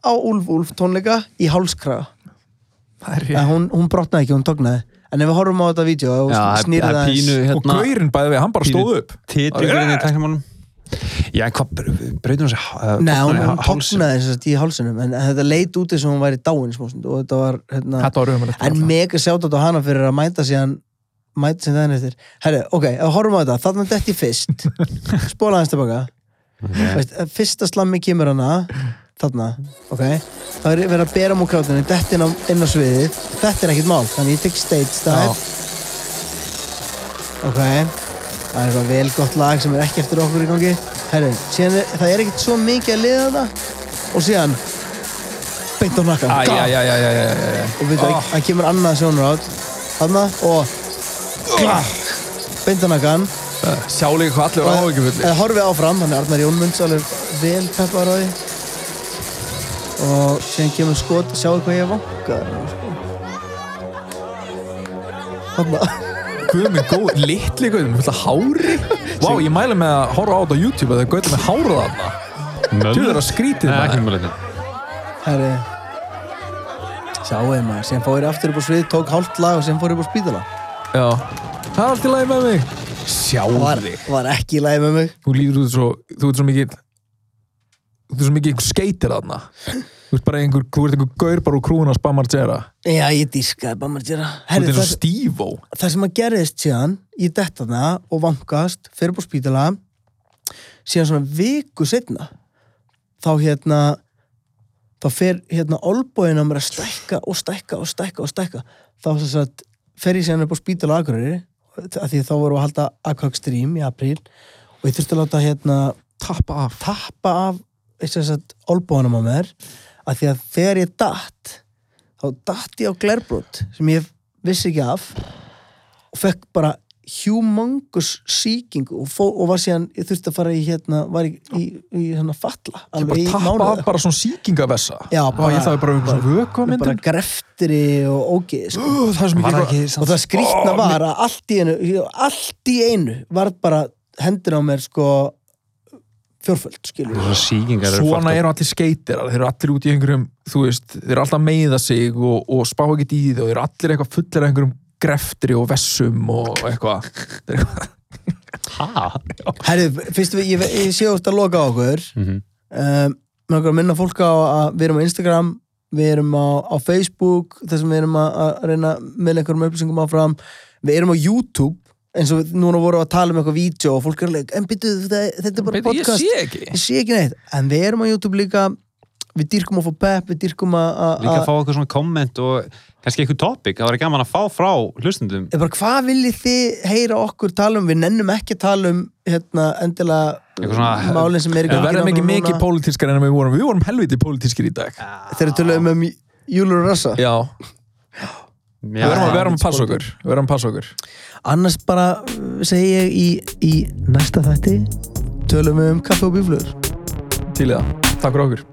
B: á Úlf Úlf tónleika í hálskraga
A: Það er
B: en hún, hún brotnaði ekki, hún tognaði en ef við horfum á þetta vídeo og snýrið
C: það er
B: aðeins-
C: pínu
A: Og
C: hérna
A: gaurinn bæði við, hann bara stóð upp.
C: Titringurinn í tæknumálum Já, en hvað, breytum hún uh, sér
B: Nei, hún, hún tognaði þess að í hálsunum en þetta leit út eins og hún væri dáin smóstund, og þetta var, hérna,
A: Þetta var raumulegt.
B: en mega sjátt á hana fyrir að mæta síðan mæta síðan þenni eftir Herri, ok, ef horfum á þetta, þarna detti fyrst spóla hans tilbaka Veist, að fyrsta slammi kemur hana þarna, ok þá er verið að bera múl krátinu, detti inn á, inn á sviðið þetta er ekkert mál, þannig ég tek stage dive ok það er eitthvað vel gott lag sem er ekki eftir okkur í gangi herru, síðan er, það er ekkert svo mikið að liða þetta og síðan beint á nakkan
A: Æ, já, já, já, já, já, já, já.
B: og við það, það kemur annað sjónur átt þarna og klakk, beint á nakkan
A: Sjá líka hvað allir eru áhyggjufulli.
B: eða horfið áfram, hann er Arnar Jónmunds alveg vel peppar á því og síðan kemur skot sjáu hvað ég vankaður sko. þarna
A: Guð minn góð, litli guð, með þetta hári. Vá, ég mæli með að horfa á þetta á YouTube að það er gauð með hárið þarna. Þú er að skrítið
C: Nei, ekki
A: maður.
C: mjög leitt
B: Herri Sjáum maður, sem fór ég aftur upp á svið tók hálft lag og sem fór ég upp á spítala
A: Já. Það er allt í lagi með mig.
B: var,
A: Sjáði.
B: var ekki í lagi með mig
A: Þú líður út svo, þú ert svo mikið, þú ert svo mikið einhver skeitir þarna. Þú ert bara einhver, þú ert einhver gaur bara úr krúin að spamma að gera.
B: Já, ég dískaði bara maður gera
A: Þú ert
B: Herri,
A: eins og
B: það,
A: Steve-O.
B: það sem að gerðist síðan ég detta það og vankast fyrir upp á spítala síðan svona viku setna þá hérna þá fer hérna olbóin á mér að stækka og stækka og stækka og stækka þá þess að fer ég sérna upp á spítala Akureyri að því þá voru að halda Aquag Stream í apríl og ég þurfti að láta hérna tappa af, tappa af þess að olbóinum á mér að því að þegar ég datt þá datt ég á glerbrot sem ég vissi ekki af og fekk bara humongous sýkingu og, fó, og var síðan, ég þurfti að fara í hérna, var í, í, í hérna falla alveg
A: Bara
B: í
A: tappa
B: mánuð
A: af bara svona síkingavessa.
B: Já, bara-
A: Ég þarf bara um svona
B: bara
A: vökuamyndun.
B: greftri og ógeði sko.
A: Það er svo mikið eitthvað-
B: og það skrýtna var að allt í einu allt í einu var bara hendur á mér sko fjórföld skilur við.
C: Svona sýkingar
A: svona
C: eru fucked up.
A: eru allir skeitirar þeir eru allir út í einhverjum, þú veist þeir eru alltaf að meiða sig og, og spá ekkert í því og þeir eru allir eitthvað fullir af einhverjum greftri og vessum og eitthvað Þeir eru eitthvað-
C: Ha?
B: herru, fyrst við, ég, ég sé út að loka á okkur
C: Mhm.
B: um, mér langar að minna fólk á að við erum á Instagram við erum á, á Facebook þar sem við erum að, að reyna með einhverjum upplýsingum áfram við erum á YouTube eins og við- núna vorum við að tala um eitthvað vídeo og fólk er alveg, en byttu, þetta er bara
A: Bíddu, ég
B: podcast
A: sé ekki
B: ég sé ekki neitt, en við erum á YouTube líka við dyrkum að fá pepp, við dyrkum að að-
C: Líka að
B: að-
C: fá eitthvað svona komment og kannski eitthvað topic, það var gaman að fá frá hlustundum.
B: er bara hvað viljið þið heyra okkur tala um, við nennum ekki að tala um hérna endilega
C: Eitthvað svona-
B: málin sem er í
A: Við
B: gangi
A: verðum ekki
B: nákvæmlega
A: mikið
B: núna.
A: pólitískar en við vorum, við vorum helviti pólitískir í dag
B: þegar tölum um Júlur Rassa
A: Já,
C: Við
A: við verðum að, við verðum að passa okkur Við verðum að passa okkur
B: annars bara uh, segi ég í, í næsta þætti tölum við um kaffe og bíflugur
A: Til í það, takk fyrir okkur